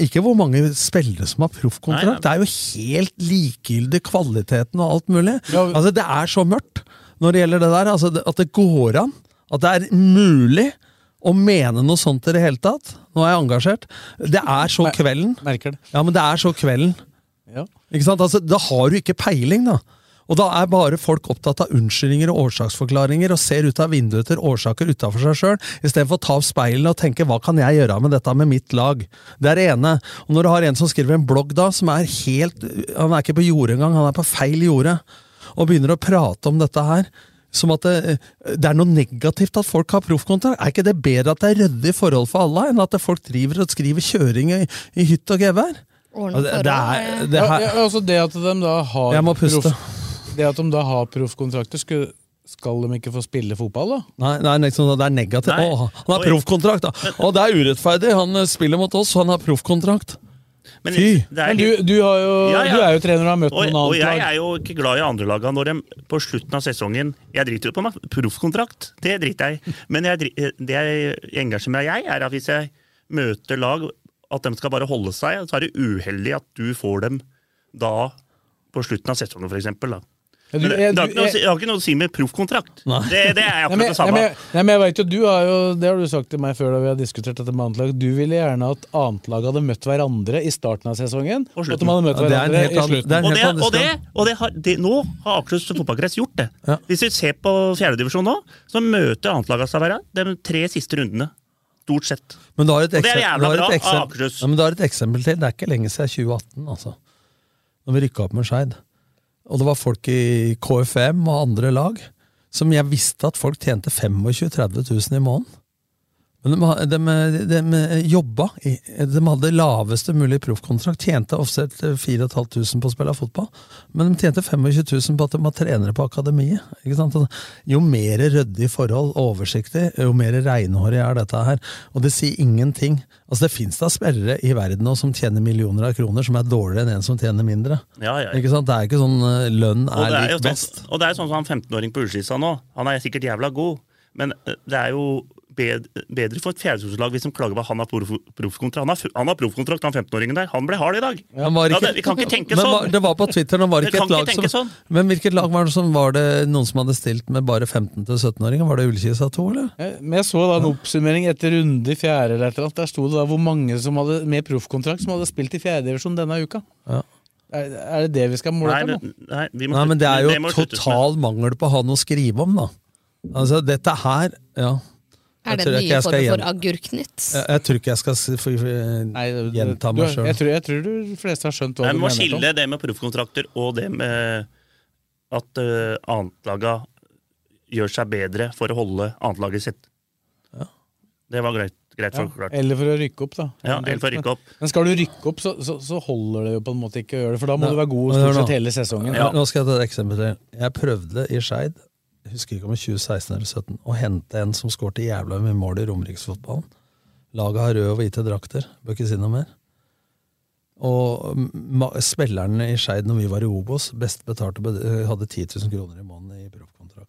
S5: Ikke hvor mange spillere som har proffkontrakt. Det er jo helt likegyldig kvaliteten og alt mulig. Altså, det er så mørkt når det gjelder det der. Altså, det- at det går an. At det er mulig. Å mene noe sånt i det hele tatt. Nå er jeg engasjert. Det er så kvelden.
S3: Merker det.
S5: Ja, men det er så kvelden.
S3: Ja.
S5: Ikke sant? Altså, da har du ikke peiling, da. Og da er bare folk opptatt av unnskyldninger og årsaksforklaringer og ser ut av vinduet etter årsaker utafor seg sjøl, istedenfor å ta opp speilene og tenke 'hva kan jeg gjøre med dette med mitt lag'? Det er det ene. Og når du har en som skriver en blogg da, som er helt Han er ikke på jordet engang, han er på feil jorde, og begynner å prate om dette her som at det, det er noe negativt at folk har proffkontrakt. Er ikke det bedre at det er ryddige forhold for alle, enn at folk driver og skriver kjøring i, i hytt og gevær?
S6: Ordne
S5: Det- det er- det
S3: ja,
S5: her-
S3: ja, altså det at de da har
S5: Jeg må puste.
S3: proff- Det at de da har proffkontrakter, sku- skal de ikke få spille fotball, da?
S5: Nei, nei liksom, det er negativt. Å, han har proffkontrakt, da! Å, det er urettferdig! Han eh, spiller mot oss, og han har proffkontrakt.
S4: Men det
S3: Fy!
S4: er-
S3: Men du, du, har jo,
S4: Ja, ja.
S3: du er jo trener og har møtt
S4: og,
S3: noen
S4: og
S3: annet
S4: jeg
S3: lag.
S4: er jo ikke glad i andrelaga når de på slutten av sesongen Jeg driter jo på meg, proffkontrakt, det driter jeg i. Men jeg, dri- eh, det jeg engasjerer meg jeg, er at hvis jeg møter lag, at de skal bare holde seg, så er det uheldig at du får dem da på slutten av sesongen, f.eks.
S3: Ja, du-
S4: Men det, det,
S3: jeg-
S4: har ikke noe, å
S3: jeg-
S4: si- det har ikke noe å si med proffkontrakt. Det, det er
S3: Nei, men-
S4: akkurat det samme.
S3: Nei, men, nei, men jeg vet jo, du har jo, Det har du sagt til meg før da vi har diskutert dette med annet lag. Du ville gjerne at annet lag hadde møtt hverandre i starten av sesongen. Og at de hadde møtt
S5: Ja, det er en
S3: hverandre
S5: helt
S3: i
S5: annen-
S3: slutten.
S5: det er en
S4: Og det, og det, og det har, det, nå har Akershus fotballkrets gjort det. Hvis vi ser på fjerdedivisjon nå, så møter annetlaga seg hver de tre siste rundene. Stort sett.
S5: Men du har et
S4: Og det er
S5: eksempel,
S4: jævla
S5: du har
S4: bra
S5: et
S4: av
S5: eksempel,
S4: Akershus.
S5: ja, men du har et eksempel til. Det er ikke lenge siden 2018, altså. Når vi rykka opp med Skeid. Og det var folk i KFM og andre lag som jeg visste at folk tjente 25 000-30 000 i måneden. Men de, de, de, eh, jobba i, De hadde laveste mulig proffkontrakt. Tjente offset eh, 4500 på å spille fotball. Men de tjente 25 000 på at de var trenere på akademiet. Ikke sant? Og Jo mer ryddig forhold, oversiktlig, jo mer reinhårig er dette her. Og det sier ingenting. Altså Det fins da spillere i verden nå som tjener millioner av kroner, som er dårligere enn en som tjener mindre.
S4: Ja, ja, ja.
S5: Ikke sant? Det er ikke sånn eh, lønn
S4: Og
S5: er,
S4: det er jo
S5: lik best.
S4: sånn, og det er sånn som han 15-åring på Ullskisa nå. Han er sikkert jævla god, men eh, det er jo bed- bedre for et fjerdedivisjonslag hvis de klager på at han har proff- proffkontrakt. Han har fu- han har proffkontrakt, han 15-åringen der. Han ble hard i dag.
S5: Han var
S4: Ja,
S5: ikke-
S4: det, vi kan ikke tenke
S5: men
S4: sånn.
S5: var- Det var på Twitter, det var
S4: Vi
S5: ikke
S4: kan
S5: et lag
S4: ikke tenke
S5: som
S4: sånn.
S5: Men hvilket lag var det som var det noen som hadde stilt med bare 15-17-åringer? Var det Ullkisa 2, eller?
S3: Men jeg så da en oppsummering etter runde i fjerde. eller et eller annet. Der sto det da hvor mange som hadde med proffkontrakt som hadde spilt i fjerdedivisjon denne uka.
S5: Ja.
S3: Er, er det det vi skal måle
S4: Nei,
S3: etter nå?
S4: men- nei, vi må
S5: Nei, men det
S4: slutte-
S5: er jo
S4: må vi slutte med.
S5: total mangel på å ha noe å skrive om, da. Altså, dette her Ja.
S6: Er det
S5: tror
S6: den
S5: ikke
S6: nye
S5: jeg skal
S6: formen for
S5: gjen-
S6: agurknytt?
S5: Jeg, jeg tror ikke jeg skal s- få- få- gjenta meg
S3: Du-
S5: sjøl.
S3: Jeg, tror- jeg tror de fleste har skjønt hva
S4: Nei, Vi må
S3: du mener. Tom.
S4: skille det med proffkontrakter og det med at uh, annetlaga gjør seg bedre for å holde annetlaget sitt. Det var greit, greit forklart.
S3: Eller for å rykke opp, da.
S4: Ja, eller for å rykke opp.
S3: Men skal du rykke opp, så, så, så holder det jo på en måte ikke å gjøre det, for da må
S5: Ja.
S3: du være god
S5: Men hør
S3: stort
S5: nå.
S3: sett hele sesongen.
S5: Nå skal jeg ta et eksempel til. Jeg prøvde i Skeid, jeg husker ikke om det var 2016 eller 2017, å hente en som skårte jævla mye mål i romeriksfotballen. Laget har røde og hvite drakter, bør ikke si noe mer. Og ma- spillerne i Skeid når vi var i Obos, best betalte, bed- eh, hadde 10 000 kroner i måneden i proffkontrakt.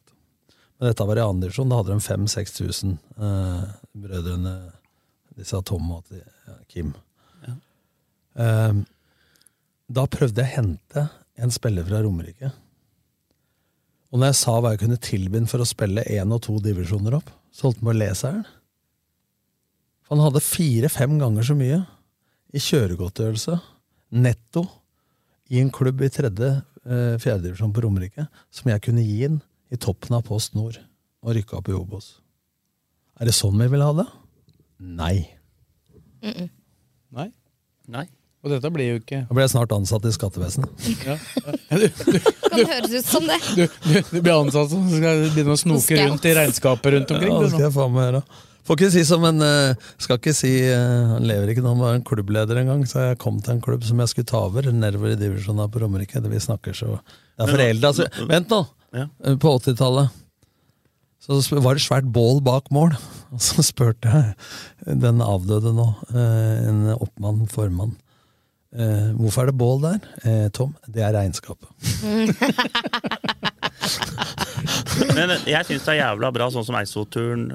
S5: Men dette var i andre divisjon, da hadde de 5000-6000, eh, brødrene disse Tom og ja, Kim. Eh, da prøvde jeg å hente en spiller fra Romerike. Og når jeg sa hva jeg kunne tilby ham for å spille én og to divisjoner opp, så holdt han på å le seg i hjel. For han hadde fire-fem ganger så mye i kjøregodtgjørelse, netto, i en klubb i tredje, eh, fjerde divisjon på Romerike, som jeg kunne gi ham i toppen av Post Nord og rykke opp i Obos. Er det sånn vi vil ha det? Nei.
S3: Nei.
S4: Nei.
S3: Og dette blir jo ikke
S5: Da ble jeg snart ansatt i skattevesenet.
S3: ja. Ja, du, du,
S6: Kan det høres ut som det?
S3: du, du, du blir ansatt som skal begynne å snoke
S6: Scout.
S3: rundt i regnskapet rundt omkring.
S5: Ja, det
S3: du,
S5: skal
S3: nå.
S5: jeg faen meg gjøre. Får ikke si som en eh, Skal ikke si eh, Han lever ikke nå, han var en klubbleder en gang, så jeg kom til en klubb som jeg skulle ta over, nedover i divisjonen her på Romerike. Det vi snakker så Det er
S4: Men-
S5: forelda, altså. Vent nå!
S4: Ja.
S5: Eh, På 80-tallet så sp- var det svært bål bak mål, og så spurte jeg den avdøde nå, eh, en oppmann, formann, eh, hvorfor er det bål der? Eh, Tom, det er regnskapet.
S4: Men eh, jeg syns det er jævla bra sånn som Eidsvollturen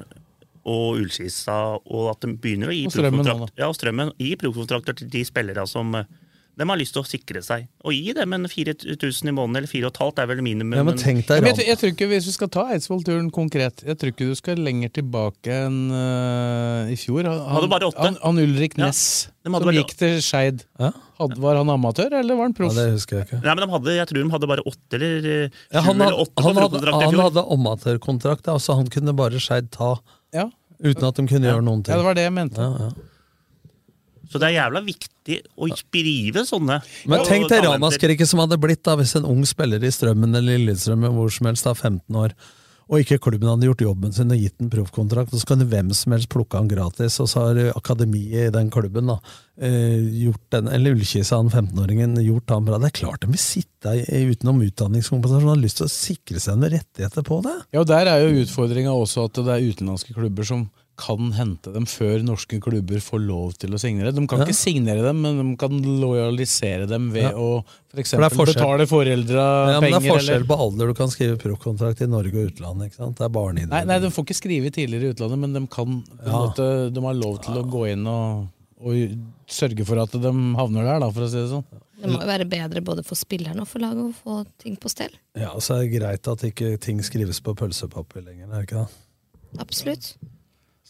S4: og Ullskissa, og at de begynner å gi
S3: Og strømmen nå,
S4: proffkontrakt- ja, og strømmen, gi proffkontrakter til de spillerne som eh, de har lyst til å sikre seg. Og gi dem en 4000 i måneden, eller 4500 er vel minimum.
S5: Ja, men tenk deg
S3: Ja, men
S5: ran-
S3: jeg, jeg tror ikke, Hvis vi skal ta Eidsvoll-turen konkret Jeg tror ikke du skal lenger tilbake enn øh, i fjor. Han,
S4: Hadde bare åtte.
S3: han, han Ulrik
S4: Ja,
S3: Næss,
S4: de hadde
S3: som
S4: bare-
S3: gikk til Skeid. Hadde- Var han amatør, eller var han proff?
S5: det husker jeg ikke.
S4: Nei, men de hadde, Jeg tror de hadde bare åtte eller eh, sju
S5: Ja, han,
S4: eller
S5: hadde,
S4: åtte på
S5: han, hadde,
S4: proffkontrakter i
S5: han
S4: fjor.
S5: hadde amatørkontrakt, ja, så han kunne bare Skeid ta
S3: Ja.
S5: uten at de kunne gjøre noen ting.
S3: Ja, det var det jeg mente.
S5: Ja, ja.
S4: Så det er jævla viktig å skrive sånne.
S5: Men
S4: Og
S5: tenk det
S4: talenter.
S5: ramaskriket som hadde blitt da hvis en ung spiller i Strømmen eller Lillestrøm eller hvor som helst da, 15 år, og ikke klubben hadde gjort jobben sin og gitt en proffkontrakt, og så kan hvem som helst plukke han gratis, og så har akademiet i den klubben da, eh, gjort den, eller Ullkisa, han 15-åringen, gjort han bra. Det er klart de vil sitte i- utenom utdanningskompensasjon, har lyst til å sikre seg noen rettigheter på det.
S3: Ja, og Der er jo utfordringa også at det er utenlandske klubber som kan hente dem før norske klubber får lov til å signere. De kan ikke signere dem, men de kan lojalisere dem ved
S5: Ja.
S3: å
S5: For
S3: for
S5: det er
S3: eksempel,
S5: forskjell.
S3: betale foreldra
S5: Ja, men
S3: penger.
S5: det er forskjell
S3: eller-
S5: på alder. Du kan skrive proffkontrakt i Norge og utlandet. ikke sant? Det er barneidrett.
S3: Nei, nei, de får ikke skrive tidligere i utlandet, men de, kan, på
S5: Ja.
S3: en måte, de har lov til å gå inn og, og sørge for at de havner der, da, for å si det sånn.
S6: Det må jo være bedre både for spilleren og for laget å få ting på stell.
S5: Ja, og så er det greit at ikke ting skrives på pølsepapir lenger. er det ikke det?
S6: Absolutt.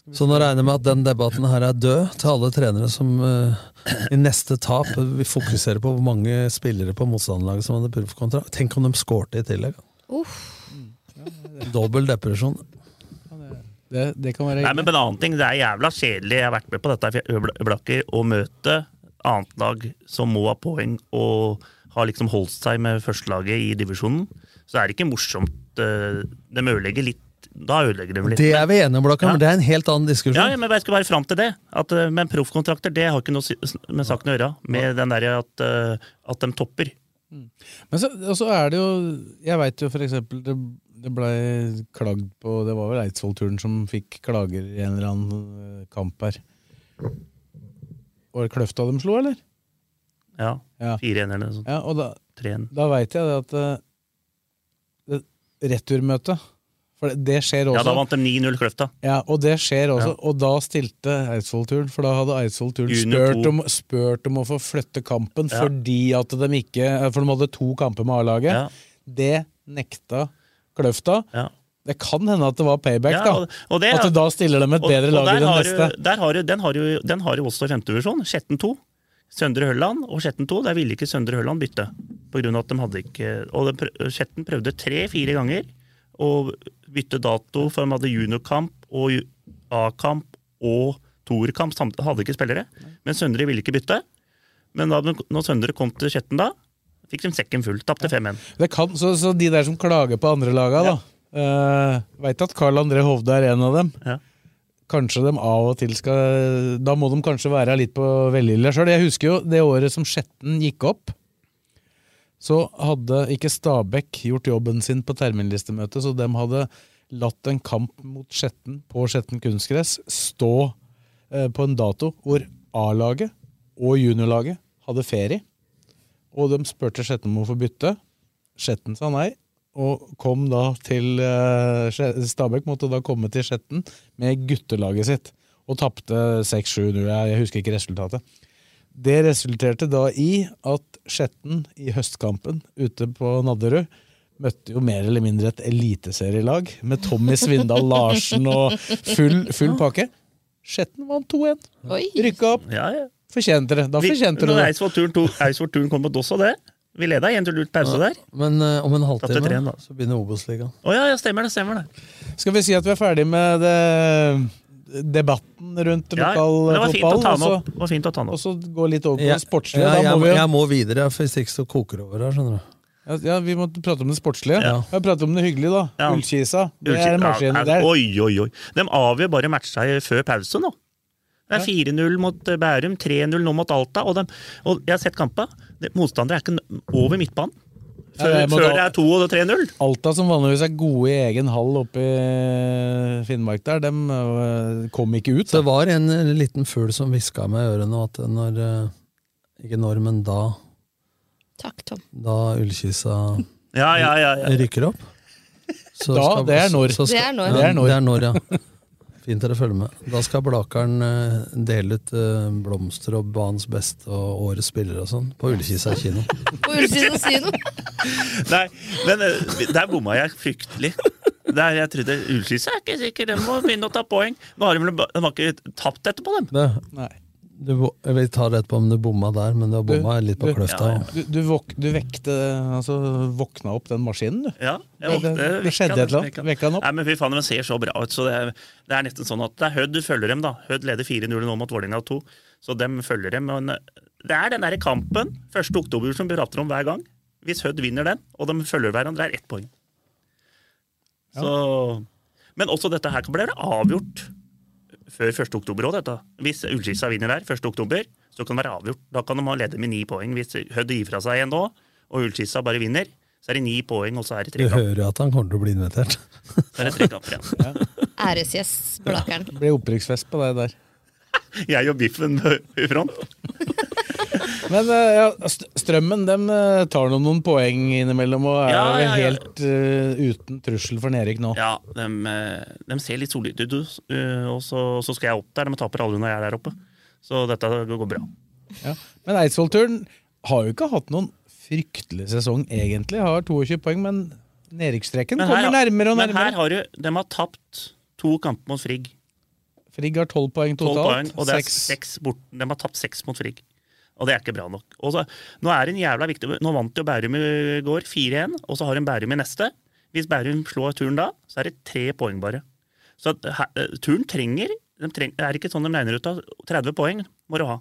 S5: Så nå regner jeg med at den debatten her er død, til alle trenere som eh, i neste tap vil fokusere på hvor mange spillere på motstanderlaget som hadde proffkontrakt. Tenk om de skårte i tillegg.
S6: Uff.
S5: Dobbel depresjon.
S3: Det, det kan være
S4: Nei, men på en annen ting, Det er jævla kjedelig, jeg har vært med på dette i Øbl- Øblakker, å møte annet lag som må ha poeng og har liksom holdt seg med førstelaget i divisjonen. Så er det ikke morsomt. eh, De ødelegger litt. Da ødelegger de litt.
S5: Det er vi enige om, Blakkar, men det er en helt annen diskusjon.
S4: Ja, ja, men jeg skal bare fram til det. At, eh, men proffkontrakter det har ikke noe si- med saken å gjøre. Med den derre at, eh, at de topper.
S3: Men så, og så er det jo Jeg veit jo for eksempel det, det blei klagd på Det var vel Eidsvoll-turen som fikk klager i en eller annen eh, kamp her. Var det Kløfta de slo, eller?
S4: Ja. Fire enere eller noe sånt.
S3: Ja, og da,
S4: Tre en.
S3: da veit jeg det at eh, det, Returmøtet For det, det skjer også.
S4: Ja, da vant de 9-0 Kløfta.
S3: Ja, og det skjer også.
S4: Ja.
S3: Og da stilte Eidsvoll-turen, for da hadde Eidsvoll-turen
S4: Junior
S3: spurt,
S4: to.
S3: om- spurt om å få flytte kampen
S4: Ja.
S3: fordi at de ikke For de hadde to kamper med A-laget.
S4: Ja.
S3: Det nekta Kløfta.
S4: Ja.
S3: Det kan hende at det var payback,
S4: Ja,
S3: da.
S4: og- og det-
S3: at da stiller de et
S4: Og-
S3: bedre
S4: og
S3: lag
S4: der
S3: i den
S4: har
S3: neste.
S4: Du, der har du, den, har jo, den har jo også femtedivisjon. Skjetten 2. Søndre Hølland og Skjetten 2. Der ville ikke Søndre Hølland bytte. På grunn av at de hadde ikke Og den prø- Skjetten prøvde tre-fire ganger å bytte dato, for de hadde juniorkamp og ju- A-kamp og toerkamp. samt- Hadde ikke spillere. Men Søndre ville ikke bytte. Men da de- når Søndre kom til Skjetten da, fikk de sekken full. Tapte 5-1.
S3: Det kan, så, så de der som klager på andre laga, da. Uh, Veit at Carl André Hovde er en av dem. Kanskje de av og til skal Da må de kanskje være litt på velvilje sjøl. Jeg husker jo det året som Skjetten gikk opp. Så hadde ikke Stabæk gjort jobben sin på terminlistemøtet, så de hadde latt en kamp mot Skjetten på Skjetten kunstgress stå eh, på en dato hvor A-laget og juniorlaget hadde ferie. Og de spurte Skjetten om å få bytte. Skjetten sa nei, og kom da til eh, Skje- Stabæk måtte da komme til Skjetten med guttelaget sitt. Og tapte 6-7-0, jeg jeg husker ikke resultatet. Det resulterte da i at Skjetten i høstkampen ute på Nadderud møtte jo mer eller mindre et eliteserielag med Tommy Svindal Larsen og full, full pakke. Skjetten vant 2-1. Rykka opp. Fortjente det. Da
S4: Vi-
S3: fortjente du
S4: når
S3: det.
S4: Eidsvoll-turen to- Eidsvoll-turen kom på Doss og det. Vi leda 1-0 ut pause der.
S5: Men eh, om en
S4: Tapte tre, da.
S5: halvtime så begynner Obos-ligaen.
S4: Å ja, ja, stemmer det. stemmer det.
S3: Skal vi si at vi er ferdig med det, debatten rundt
S4: Ja,
S3: lokal
S4: det var fint å
S3: eh, fotball?
S4: ta den
S3: og så-
S4: opp. Det var fint å ta den opp.
S3: Og så gå litt over på
S5: Jeg,
S3: det sportslige.
S5: jeg,
S3: da må
S5: jeg,
S3: vi, jo-
S5: jeg må videre, for hvis ikke så koker det over her. skjønner du.
S3: ja, ja, vi må prate om det sportslige.
S4: Ja.
S3: Vi har pratet om det hyggelige, da.
S4: Ja.
S3: Ullkisa. Det er en maskin
S4: Ja,
S3: der.
S4: Oi, oi, oi. De avgjør bare matcha før pause nå. Det er 4-0 mot eh, Bærum, 3-0 nå mot Alta. Og, dem- og jeg har sett kampa. Det- Motstandere er ikke n- over midtbanen. Før,
S3: Nei, det er mot
S4: før
S3: Al-
S4: det er 2 og 3-0.
S3: Alta, som vanligvis er gode i egen hall oppe i Finnmark der, dem øh, kom ikke ut.
S5: Så det var en eh, liten fugl som hviska meg i ørene at når eh, Ikke når, men da
S6: Takk, Tom.
S5: Da ullkisa
S4: Ja, ja, ja, ja.
S5: rykker opp. så
S3: Da,
S5: skal-
S3: det er når.
S5: så skal-
S6: Det er når.
S5: Ja,
S3: Det er når.
S5: det er når, ja. Fint dere følger med. Da skal Blakeren eh, dele ut eh, blomster og banens beste og årets spillere og sånn på Ullkisa kino.
S6: På Ullsiden kino.
S4: Nei, men eh, der bomma jeg fryktelig. Der jeg trodde Ullskisse er ikke sikker, de må begynne å ta poeng. Nå har de, vel ba- de har ikke tapt etterpå, dem.
S5: Det,
S3: Nei.
S5: du, bo- jeg vil ta det etterpå om du bomma der, men du har bomma litt på kløfta. ja.
S3: Du, du, våk, du vekte Altså våkna opp den maskinen, du.
S4: Ja, jeg
S3: Det-
S4: våkner-
S3: det
S4: vekka
S3: skjedde
S4: den,
S3: et eller annet.
S4: vekka
S3: Vekka den opp.
S4: Nei, men fy faen, De ser så bra ut. så Det er, det er nesten sånn at det er Hødd du følger dem. da. Hødd leder 4-0 nå mot Vålerenga 2, så dem følger dem. Men eh, det er den derre kampen 1. oktober som vi prater om hver gang. Hvis Hødd vinner den, og de følger hverandre, er ett poeng. Så, men også dette her kan bli avgjort før 1. oktober òg, dette. Hvis Ullskissa vinner der 1. oktober, så kan det være avgjort. Da kan de ha leder med ni poeng. Hvis Hødd gir fra seg en nå, og Ullskissa bare vinner, så er det ni poeng, og så er det
S5: Du
S4: tre kamper.
S5: hører jo at han kommer til å bli invitert.
S4: Så er det tre kamper igjen.
S6: Æresgjest Blakeren.
S3: Det blir opprykksfest på deg der.
S4: Jeg og Biffen i front.
S3: Men eh, ja, st- Strømmen dem eh, tar noen, noen poeng innimellom og er
S4: Ja, ja,
S3: vel
S4: ja.
S3: helt eh, uten trussel for Nerik nå.
S4: Ja, de, ser litt solide ut, eh, og så, så skal jeg opp der. De taper aldri når jeg er der oppe. Så dette går bra.
S3: Ja. Men Eidsvoll-turen har jo ikke hatt noen fryktelig sesong, egentlig. Har 22 poeng, men nedrykkstreken
S4: Men
S3: kommer
S4: her-
S3: nærmere og
S4: men
S3: nærmere.
S4: her har du, de har tapt to kamper mot Frigg.
S3: Frigg har 12 poeng
S4: Tolv
S3: totalt.
S4: poeng, og det er
S3: Seks.
S4: seks bort, de har tapt seks mot Frigg. Og det er ikke bra nok. Og så, nå, er det en jævla viktig, nå vant jo Bærum i går 4-1, og så har de Bærum i neste. Hvis Bærum slår turen da, så er det tre poeng bare. Så at, her, eh, turen trenger, de treng, Det er ikke sånn de regner ut av 30 poeng må du ha.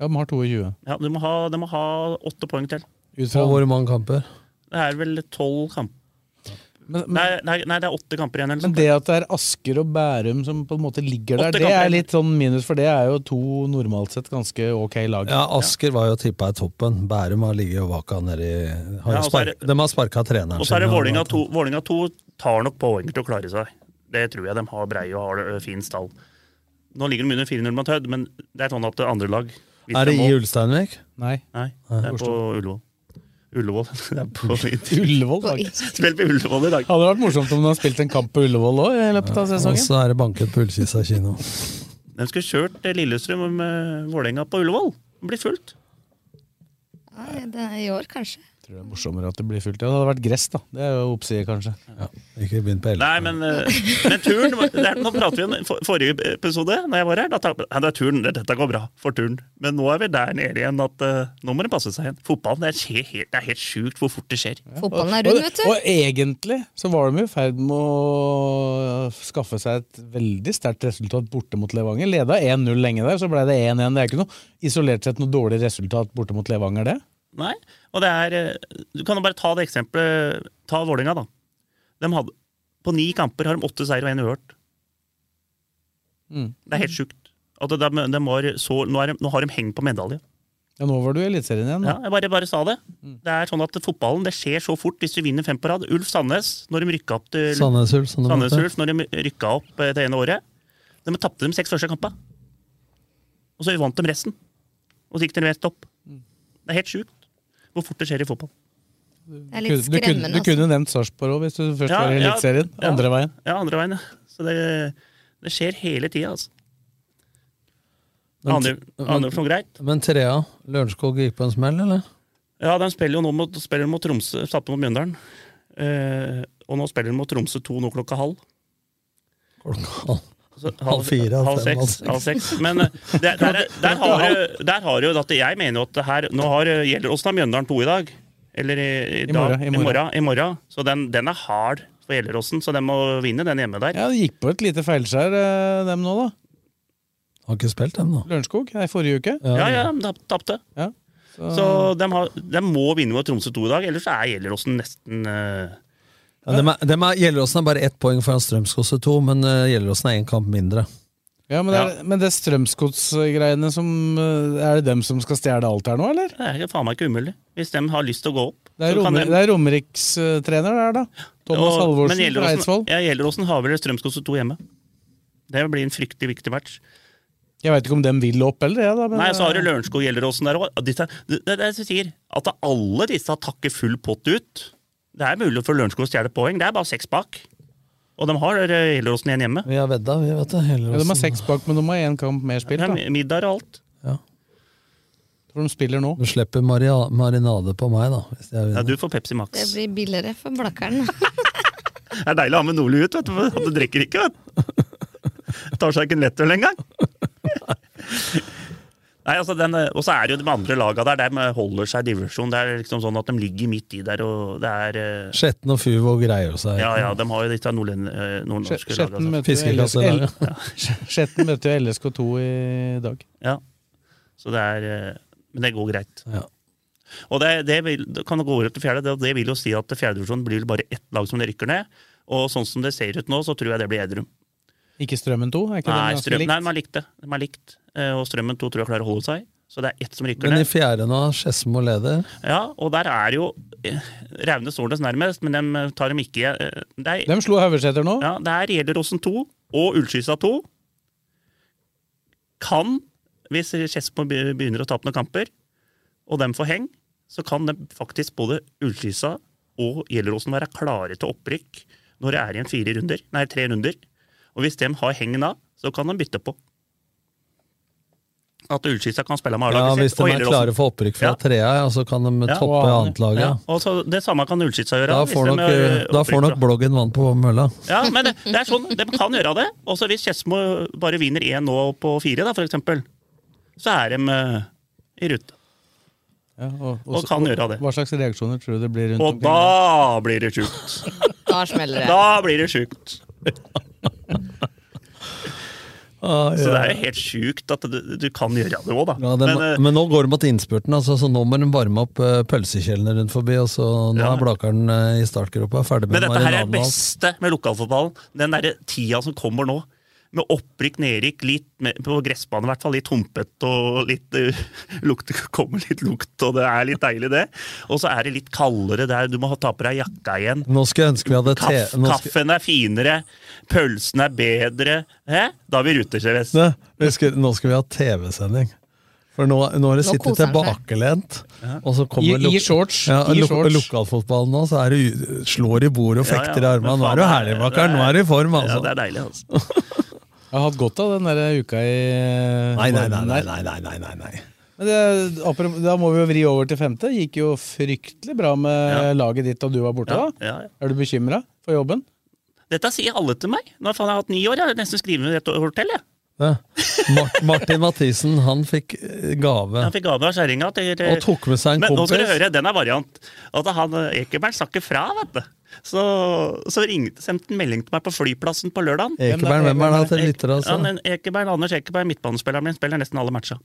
S3: Ja, de har 22.
S4: Ja, du må ha de må ha åtte poeng til.
S5: Og hvor mange kamper?
S4: Det er vel tolv kamper. nei, nei, nei, det er åtte kamper igjen. Eller noe
S3: Men
S4: sånt.
S3: det at det er Asker og Bærum som på en måte ligger der,
S4: Åtte
S3: det
S4: kamper.
S3: er litt sånn minus, for det er jo to normalt sett ganske ok lag.
S5: Ja, Asker var jo tippa i toppen. Bærum har ligget og vaka nedi har
S4: Ja,
S5: jo
S4: og så er
S5: spark, De har sparka treneren
S4: Og så er det
S5: sin,
S4: Vålinga 2. Vålinga 2 tar nok poeng til å klare seg. Det tror jeg de har brei og har ø, fin stall. Nå ligger de under 4-0 mot Hødd, men det er sånn at andre lag hvis
S5: Er det
S4: de
S5: i
S4: må-
S5: Ulsteinvik?
S3: Nei.
S4: Nei, det er på
S5: Oslo.
S4: Ullevål. Ullevål. Det er på
S3: Ullevål,
S4: Spill på Ullevål i dag.
S3: Hadde vært morsomt om du hadde spilt en kamp på Ullevål òg i løpet av
S5: Og
S3: sesongen.
S5: så er det banket på Ullkisa kino.
S4: De skulle kjørt eh, Lillestrøm med Vålerenga på Ullevål. Det blir fullt.
S6: Nei, det er I år, kanskje.
S3: Tror det er morsommere at det blir fullt. Ja, det hadde vært gress, da. Det er jo oppsider, kanskje.
S5: Ikke begynn på
S4: Nei, men, eh, men turen var- det er, Nå prater vi om for, forrige episode, Når jeg var her. Da, ta- ja, det er turen, det, dette går bra for turen. Men nå er vi der nede igjen at eh, nå må det passe seg igjen. Fotballen det er, skje, helt, det er helt sjukt hvor fort det skjer.
S6: Fotballen er rund, vet du.
S3: Og, og egentlig så var de i ferd med å skaffe seg et veldig sterkt resultat borte mot Levanger. Leda 1-0 lenge der, så ble det 1-1. Det er ikke noe isolert sett noe dårlig resultat borte mot Levanger, det.
S4: Nei, og det er eh, Du kan jo bare ta det eksempelet Ta Vålerenga, da. De hadde, på ni kamper har de åtte seier og én uhørt. Det er helt sjukt. At de, de var så, nå, er de, nå har de hengt på medalje.
S3: Ja, nå var du i Eliteserien igjen.
S4: Ja,
S3: da.
S4: jeg bare, bare sa det.
S5: Mm.
S4: Det er sånn at fotballen det skjer så fort hvis du vinner fem på rad. Ulf Sandnes, når de rykka opp til
S5: Sandnes Ulf, som de
S4: Sandnes
S5: heter.
S4: Ulf, når de rykka opp eh, det ene året. De tapte de seks første kampene. Og så vant de resten. Og så gikk de rett opp.
S5: Mm.
S4: Det er helt sjukt hvor fort det skjer i fotball.
S6: Det er litt
S3: du, kunne,
S6: skremmende. altså.
S3: du kunne nevnt Sarpsborg òg, hvis du først var i Eliteserien.
S4: ja.
S3: Andre veien.
S4: Ja, andre veien. ja. Så det, det skjer hele tida, altså.
S5: Men-
S4: Andre, andre for noe greit.
S5: Men Trea Lørenskog gikk på en smell, eller?
S4: Ja, de spiller jo nå mot, spiller mot Tromsø, satte mot Mjøndalen. Eh, og nå spiller de mot Tromsø 2 nå klokka halv. Så
S5: halv fire, halv
S4: halv
S5: fem,
S4: seks.
S5: halv
S4: Halv
S5: seks.
S4: seks. Men eh, der, der, er- der har jo- der har jo at jeg mener jo at det her Nå har, eh, gjelder Åsna Mjøndalen 2 i dag. Eller i, i,
S3: I
S4: dag,
S3: morgen, i
S4: i,
S3: morgen.
S4: morgen, i morgen. Så den, den er hard for Gjelleråsen, så den må vinne den hjemme der.
S3: Ja, det gikk på et lite feilskjær, eh, dem nå, da.
S5: Har ikke spilt dem, da.
S3: Lørenskog? Nei, forrige uke.
S4: Ja, ja, de tap- tapte.
S3: Så-
S4: Så de, har, de må vinne mot Tromsø 2 i dag, ellers er Gjelleråsen nesten eh,
S5: Ja, dem er, dem er, Gjelleråsen er bare ett poeng foran Strømskose 2, men eh, Gjelleråsen er én kamp mindre.
S3: Ja, men, det er, men det er Strømsgods-greiene som eh, Er det dem som skal stjele alt her nå, eller?
S4: Det er faen meg ikke umulig. Hvis de har lyst til å gå opp.
S3: Det er,
S4: så kan
S3: Romer,
S4: de-
S3: det er Romerikstrener der, da. Thomas
S4: Og- men
S3: Halvorsen fra
S4: Gjelleråsen-
S3: Eidsvoll.
S4: Ja, Gjelleråsen har vel Strømskose 2 hjemme. Det blir en fryktelig viktig match.
S3: Jeg veit ikke om dem vil opp eller det, da. Men, eh,
S4: Nei, så har du Lørenskog Gjelleråsen der òg. Det det- det er det jeg sier. At alle disse takker full pott ut. Det er mulig for Lørenskog å stjele poeng. Det er bare seks bak. Og de har eh, Gjelleråsen igjen hjemme.
S5: Vi har vedda, vi, vet du.
S3: ja, de
S5: Gjelleråsen.
S3: har seks bak, men de har én kamp mer spilt.
S4: Det
S3: Da.
S4: er middag og alt.
S3: For de spiller nå.
S5: Du slipper maria- marinade på meg, da. Hvis jeg
S4: Ja,
S5: vinner.
S4: du får Pepsi Max.
S6: Det blir billigere for Blakkeren.
S4: Det er deilig å ha med Nordli ut, vet du. for Han drikker ikke, vet du. Tar seg ikke en lettøl engang. Nei, altså den, eh, Og så er det jo de andre laga der, de holder seg i divisjon. Det er liksom sånn at de ligger midt i der, og det er eh,
S5: Skjetten og Fuvo greier seg.
S4: Ja, ja, de har jo disse nordlen- eh, nordnorske laga.
S3: Skjetten møter jo LSK
S5: Fiskekasser der,
S4: ja.
S3: Skjetten møter jo LSK2 i dag.
S4: Ja. Så det er eh, Men det går greit.
S5: Ja.
S4: Og det, det, vil, det kan gå over til fjerde, det, det vil jo si at fjerdedivisjonen blir vel bare ett lag som det rykker ned. Og sånn som det ser ut nå, så tror jeg det blir Edrum.
S3: Ikke Strømmen 2? Er ikke
S4: Nei,
S3: den ganske
S4: strøm,
S3: lik?
S4: nei, de har likt det. De har likt. Eh, Og Strømmen 2 tror jeg klarer å holde seg. Så det er ett som rykker
S5: Men i
S4: ned.
S5: fjerde nå, Skedsmo leder.
S4: Ja, og der er jo eh, Raune Stornes nærmest, men dem eh, tar dem ikke eh, det er,
S3: De slo Haugeseter nå.
S4: ja, det er Gjelleråsen 2 og Ullskisa 2 kan, hvis Skedsmo be- begynner å tape noen kamper, og dem får heng, så kan de faktisk både Ullskisa og Gjelleråsen være klare til opprykk når det er igjen fire runder, nei, tre runder. Og hvis de har hengen da, så kan de bytte på. At Ullskisa kan spille med
S5: Ja,
S4: A-laget
S5: Hvis
S4: sitt,
S5: de
S4: og
S5: er
S4: Gjelleråsen.
S5: klare for opprykk fra trea, ja, så kan de
S4: Ja.
S5: toppe annetlaget.
S4: Ja,
S5: Ja.
S4: og så Det samme kan Ullskisa gjøre.
S5: Da
S4: hvis
S5: får
S4: de
S5: nok,
S4: gjør
S5: eh, da
S4: opprykk
S5: får nok
S4: fra-
S5: bloggen vann på mølla.
S4: ja, men det, det er sånn, De kan gjøre det. Også hvis Skedsmo bare vinner én nå på fire, da, for eksempel, så er de eh, i rute.
S3: Ja, og,
S4: Og kan gjøre det.
S3: Hva slags reaksjoner tror du det blir rundt
S4: Og da blir det sjukt!
S6: Da smeller det.
S4: Da blir det sjukt. Så det er jo
S5: ja.
S4: helt sjukt at du, du kan gjøre det òg, da.
S5: Ja, det,
S4: men, eh,
S5: men, nå går det mot innspurten, altså, så nå må de varme opp eh, pølsekjelene rundt forbi. Og så nå
S4: Ja.
S5: er Blakeren eh, i startgropa ferdig
S4: men
S5: med
S4: dette her er
S5: marinaden
S4: det
S5: og alt.
S4: beste med lokalfotballen. Den derre tida som kommer nå. Med opprykk, nedrykk, litt mer, på gressbanen i hvert fall, litt humpete og litt eh, lukt, Det kommer litt lukt, og det er litt deilig, det. Og så er det litt kaldere der, du må ha- ta på deg jakka igjen.
S5: Nå skulle jeg ønske vi hadde te...
S4: Kaff,
S5: Nå skulle,
S4: kaffen er finere, pølsen er bedre. Hæ? Da er vi rutesjevest.
S5: Ne, vi skulle, nå skulle vi ha TV-sending. For nå, nå har
S4: Nå
S5: det sittet
S4: koser han seg.
S5: tilbakelent. Og så
S4: I-
S5: kommer
S4: i shorts,
S5: Ja,
S4: i
S5: lo-
S4: shorts.
S5: Lokalfotballen nå, så er det, u- slår i bordet og
S4: Ja, ja,
S5: fekter i armene.
S4: men
S5: Nå
S4: faen,
S5: er du
S4: det
S5: herlig,
S4: er-
S5: Blakkeren. Nå er du i form,
S4: Ja,
S5: altså.
S4: det er deilig, altså.
S3: Jeg har hatt godt av den der uka i eh,
S5: Nei, nei, nei, nei, nei, nei, nei, nei, nei.
S3: Men det, apropos- da må vi jo vri over til femte. Gikk jo fryktelig bra med laget ditt da du var borte.
S4: Ja,
S3: da.
S4: ja, ja.
S3: Er du bekymra for jobben?
S4: Dette sier alle til meg. Nå har faen jeg hatt ni år, jeg har nesten skrevet et år til. jeg.
S5: Ja. Mar- Martin Mathisen, han fikk eh, gave.
S4: Han fikk gave av kjerringa. til-
S5: Og tok med seg en
S4: Men nå skal du
S5: kompis.
S4: høre, den er variant. At han eh, Ekeberg sa ikke fra, vet du. Så, så ringte, sendte han melding til meg på flyplassen på lørdag.
S5: Ekeberg, hvem
S4: eh,
S5: er det til lytter, altså?
S4: Han, Ekeberg, Anders Ekeberg, midtbanespilleren min, spiller nesten alle matcha.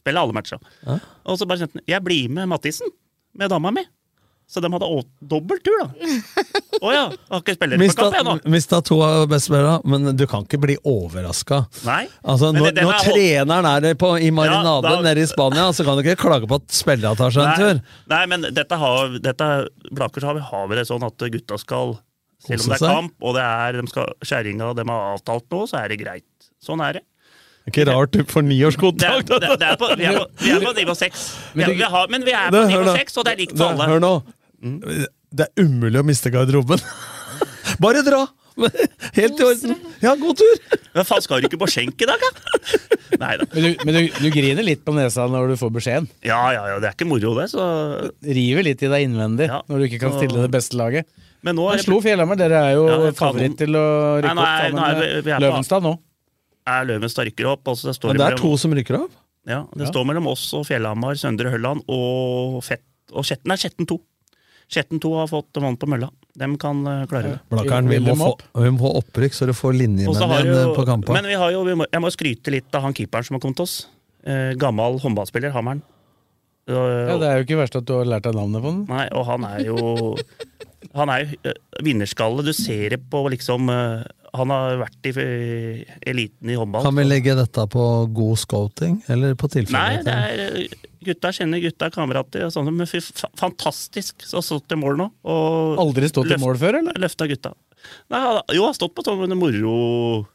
S4: Spiller alle matcha.
S5: Ja.
S4: Og så bare sendte han 'Jeg blir med Mathisen, med dama mi'. Så de hadde å- dobbelt tur, da. Å ja, har ikke spillere på
S5: Mista,
S4: kamp, jeg nå.
S5: mista to av bestespillerne, men du kan ikke bli overraska.
S4: Nei.
S5: Altså,
S4: Men
S5: når,
S4: det- den
S5: når
S4: er-
S5: treneren er på, i marinaden
S4: da-
S5: nede i Spania, så kan du ikke klage på at spillerne tar seg en tur.
S4: Nei, nei, men dette har, dette, Blaker så har vi, har vi det sånn at gutta skal Selv om
S5: Kose
S4: det er
S5: seg.
S4: kamp, og det er de skal, kjerringa de har avtalt noe, så er det greit. Sånn er det.
S5: Det er ikke rart du
S4: Det
S5: får
S4: er,
S5: niårskontakt.
S4: det, det er på, vi, er på, vi er på nivå seks. Vi er- vi har- Men vi er på
S5: Det- hør
S4: nivå
S5: nå.
S4: seks, og det er likt
S5: Det-
S4: for alle.
S5: Hør nå.
S4: Mm.
S5: Det er umulig å miste garderoben. Bare dra! Helt i orden. Ja, god tur!
S4: Hva faen, skal du ikke på skjenk i dag, da? Nei da.
S3: Men, du, men du, du griner litt på nesa når du får beskjeden.
S4: Ja, ja, ja, det er ikke moro, det, så
S3: River litt i deg innvendig når du ikke kan
S4: så-
S3: stille det beste laget.
S4: Men nå er
S3: Men
S4: det-
S3: slo Fjellhammer, dere er jo
S4: Ja, kanon.
S3: favoritt til å rykke
S4: Nei, nå er-
S3: opp
S4: nå
S3: sammen
S4: er vi-
S3: med
S4: vi er på-
S3: Løvenstad nå.
S4: er Løvenstad rykker opp. Og så står
S5: Men det er
S4: mellom-
S5: to som rykker opp.
S4: Ja, det
S5: Ja.
S4: står mellom oss og Fjellhamar, Søndre Hølland og Fett og Skjetten. Nei, Skjetten 2. Skjetten 2 har fått vann på mølla. Dem kan eh, klare det.
S5: Blakkeren, vi må få, vi må få opprykk, så du får
S4: Og så
S5: linjemenn
S4: har
S5: igjen
S4: jo-
S5: eh, på kampen.
S4: Men vi har jo, vi må, jeg må skryte litt av han keeperen som har kommet til oss. Eh, gammel håndballspiller, Hammeren.
S3: Ja, det er jo ikke verst at du har lært deg navnet på den.
S4: Nei, og han er jo Han er jo eh, vinnerskalle. Du ser det på liksom eh, Han har vært i eh, eliten i håndball.
S5: Kan vi legge dette på god scouting, eller på
S4: Nei,
S5: tilfeldigheter?
S4: det er, eh, gutta kjenner gutta, kamerater og sånne, men fy, fa- fantastisk så stått til mål nå. Og
S3: Aldri stått til
S4: løft-
S3: mål før, eller?
S4: Løfta gutta. Nei, han- jo, har stått på sånne moro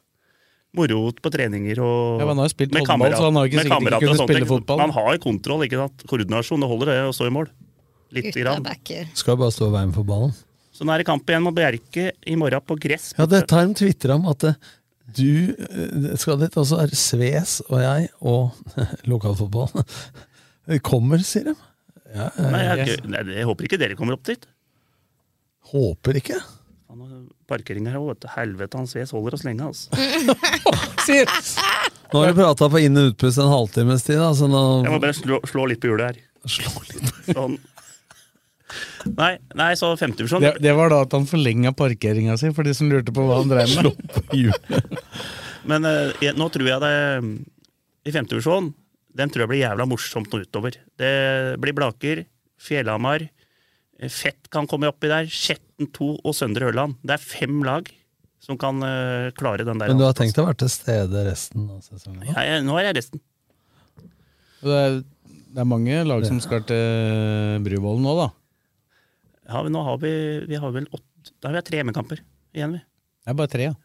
S4: Moro på treninger og
S3: Ja, men han har jo spilt
S4: med
S3: håndball,
S4: kamerat-
S3: så han har jo ikke
S4: med
S3: sikkert ikke
S4: kamerater
S3: kunnet
S4: og sånne
S3: spille
S4: ting.
S3: fotball.
S4: Man har jo kontroll, ikke sant? koordinasjon, det holder det å stå i mål. Litt grann.
S5: Skal bare stå i veien for ballen.
S4: Så nå er det kamp igjen mot Bjerke i morgen på gress.
S5: Ja, dette har de tvitra om, at eh, du eh, skal dit, og så er Sves og jeg og lokalfotballen Vi kommer, sier de. Ja, eh,
S4: Nei, jeg, har ikke- nei, jeg håper ikke dere kommer opp dit.
S5: Håper ikke.
S4: Parkeringa her, vet du. Helvete, han Sves holder oss lenge, altså.
S5: Nå har vi prata på inn- og utpust en halvtimes tid, da, så nå
S4: Jeg må bare slå, slå litt på hjulet her.
S5: Slå
S4: litt Sånn. Nei, nei, så femtedivisjon
S3: Det, det var da at han forlenga parkeringa si, for de som lurte på hva han drev med.
S4: Men eh, jeg, nå tror jeg det I femtedivisjon den tror jeg blir jævla morsomt nå utover. Det blir Blaker, Fjellhamar, eh, Fett kan komme oppi der, Skjetten 2 og Søndre Ørland. Det er fem lag som kan eh, klare den der. altså.
S5: Men du har tenkt å være til stede resten av sesongen?
S4: Nei, jeg- nå er jeg resten.
S3: Og Det er, det er mange lag som skal til Bruvollen nå, da.
S4: Ja, men nå har vi, vi har vel åtte Da har vi tre hjemmekamper igjen, vi.
S3: Det er bare tre, ja.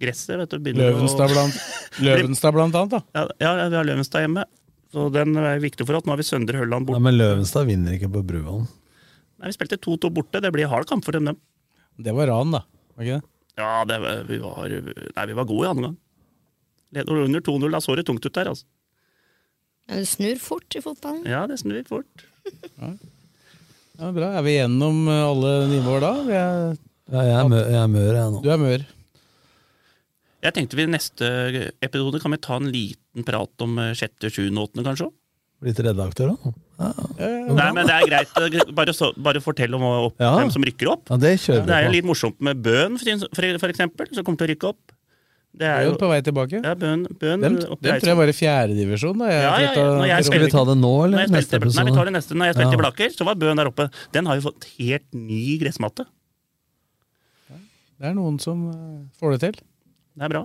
S4: gresset. vet du, begynner
S3: Løvenstad
S4: å-
S3: blant, Løvenstad blant annet, da.
S4: Ja, ja, vi har Løvenstad hjemme. Så den er viktig for oss. Nå har vi Søndre Hølland
S5: Nei,
S4: borte.
S5: men Løvenstad vinner ikke på Bruvollen.
S4: Nei, vi spilte 2-2 borte. Det blir hard kamp for dem, dem.
S3: Det var ran, da. Var ikke det?
S4: Ja, det, var- vi, var, nei, vi var gode i andre gang. Leder under 2-0, da så det tungt ut der, altså.
S6: Ja, Du snur fort i fotballen.
S4: Ja, det sånn snur fort.
S3: Ja, bra. Er vi gjennom eh, alle nivåer da? Vi er,
S5: Ja, jeg er mør, jeg, er mør, jeg nå.
S3: du er mør.
S4: Jeg tenkte vi i neste episode kan vi ta en liten prat om eh, sjette, sjuende, åttende, kanskje?
S5: Blitt redaktør, da.
S4: Nei, men det er greit. Bare, så, bare fortell om opp,
S5: Ja.
S4: hvem som rykker opp.
S5: Ja, det kjører
S4: Det er jo
S5: vi på.
S4: litt morsomt med Bøhn, for, for eksempel, som kommer til å rykke opp. Det er jo-
S3: Bøhn på vei tilbake.
S4: Ja, Bøhn, Bøhn
S3: Dem,
S4: opp
S3: dem
S4: reisen.
S3: tror jeg var i fjerdedivisjon. da. Jeg
S4: Ja, ja,
S3: tror
S4: ja.
S3: at-
S4: Når jeg
S5: Skal vi ta det nå,
S4: Når
S5: eller
S4: jeg
S5: neste
S4: spilte, nei,
S5: episode?
S4: vi tar det neste. Når jeg spilte
S5: Ja.
S4: i Blaker, så var Bøhn der oppe. Den har jo fått helt ny gressmatte.
S3: Det er noen som eh, får det til.
S4: Det er bra.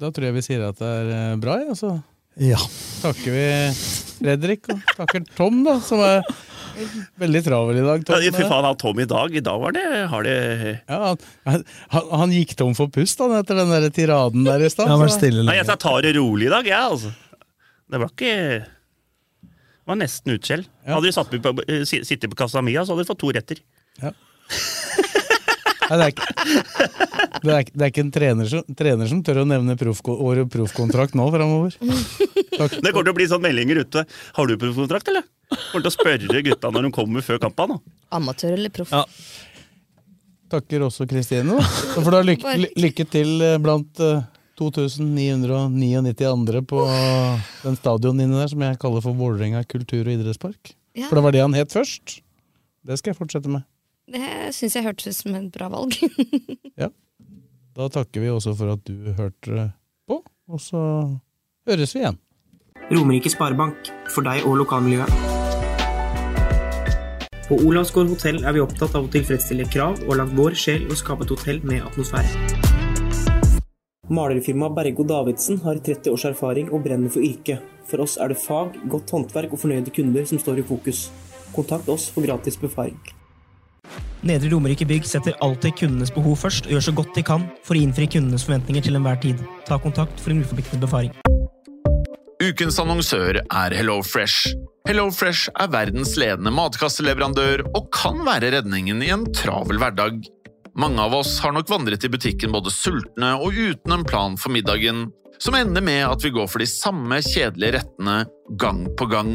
S3: Da tror jeg vi sier at det er eh, bra, ja. Så
S5: Ja.
S3: takker vi Fredrik, og takker Tom, da, som er veldig travel i dag. Tom.
S4: Ja, Fy faen, han Tom i dag, i dag var det, har det
S3: Ja, han, han, han gikk tom for pust han, etter den der tiraden der i stad.
S4: Ja, han var
S3: så-
S5: stille
S4: Nei, jeg sa tar det rolig i dag, jeg, altså. Det var ikke Det var nesten utskjell. Hadde de satt meg på, eh, si- sittet på kassa mia, så hadde de fått to retter.
S3: Nei, det, er ikke, det, er, ikke- det er ikke en trener som, trener som tør å nevne proffko- året proffkontrakt nå framover.
S4: Det kommer til å bli sånne meldinger ute. Har du proffkontrakt, eller? Kommer til å spørre gutta når de kommer før kampen. Da.
S6: Amatør eller proff?
S3: Takker også Kristine, da. Så får du ha lykke, ly- lykke til eh, blant eh, 2999 andre på den stadion inne der som jeg kaller for Vålerenga kultur- og idrettspark.
S6: Ja.
S3: For det var det han het først. Det skal jeg fortsette med.
S6: Det syns jeg hørtes ut som et bra valg.
S3: Da takker vi også for at du hørte på, og så høres vi igjen.
S1: Romerike Sparebank, for deg og lokalmiljøet. På Olavsgård hotell er vi opptatt av å tilfredsstille krav og la vår sjel å skape et hotell med atmosfære. Malerfirmaet Bergo Davidsen har 30 års erfaring og brenner for yrket. For oss er det fag, godt håndverk og fornøyde kunder som står i fokus. Kontakt oss for gratis befaring.
S7: Nedre Romerike Bygg setter alltid kundenes behov først og gjør så godt de kan for å innfri kundenes forventninger til enhver tid. Ta kontakt for en uforpliktende befaring.
S8: Ukens annonsør er HelloFresh. HelloFresh er verdens ledende matkasseleverandør og kan være redningen i en travel hverdag. Mange av oss har nok vandret i butikken både sultne og uten en plan for middagen, som ender med at vi går for de samme kjedelige rettene gang på gang.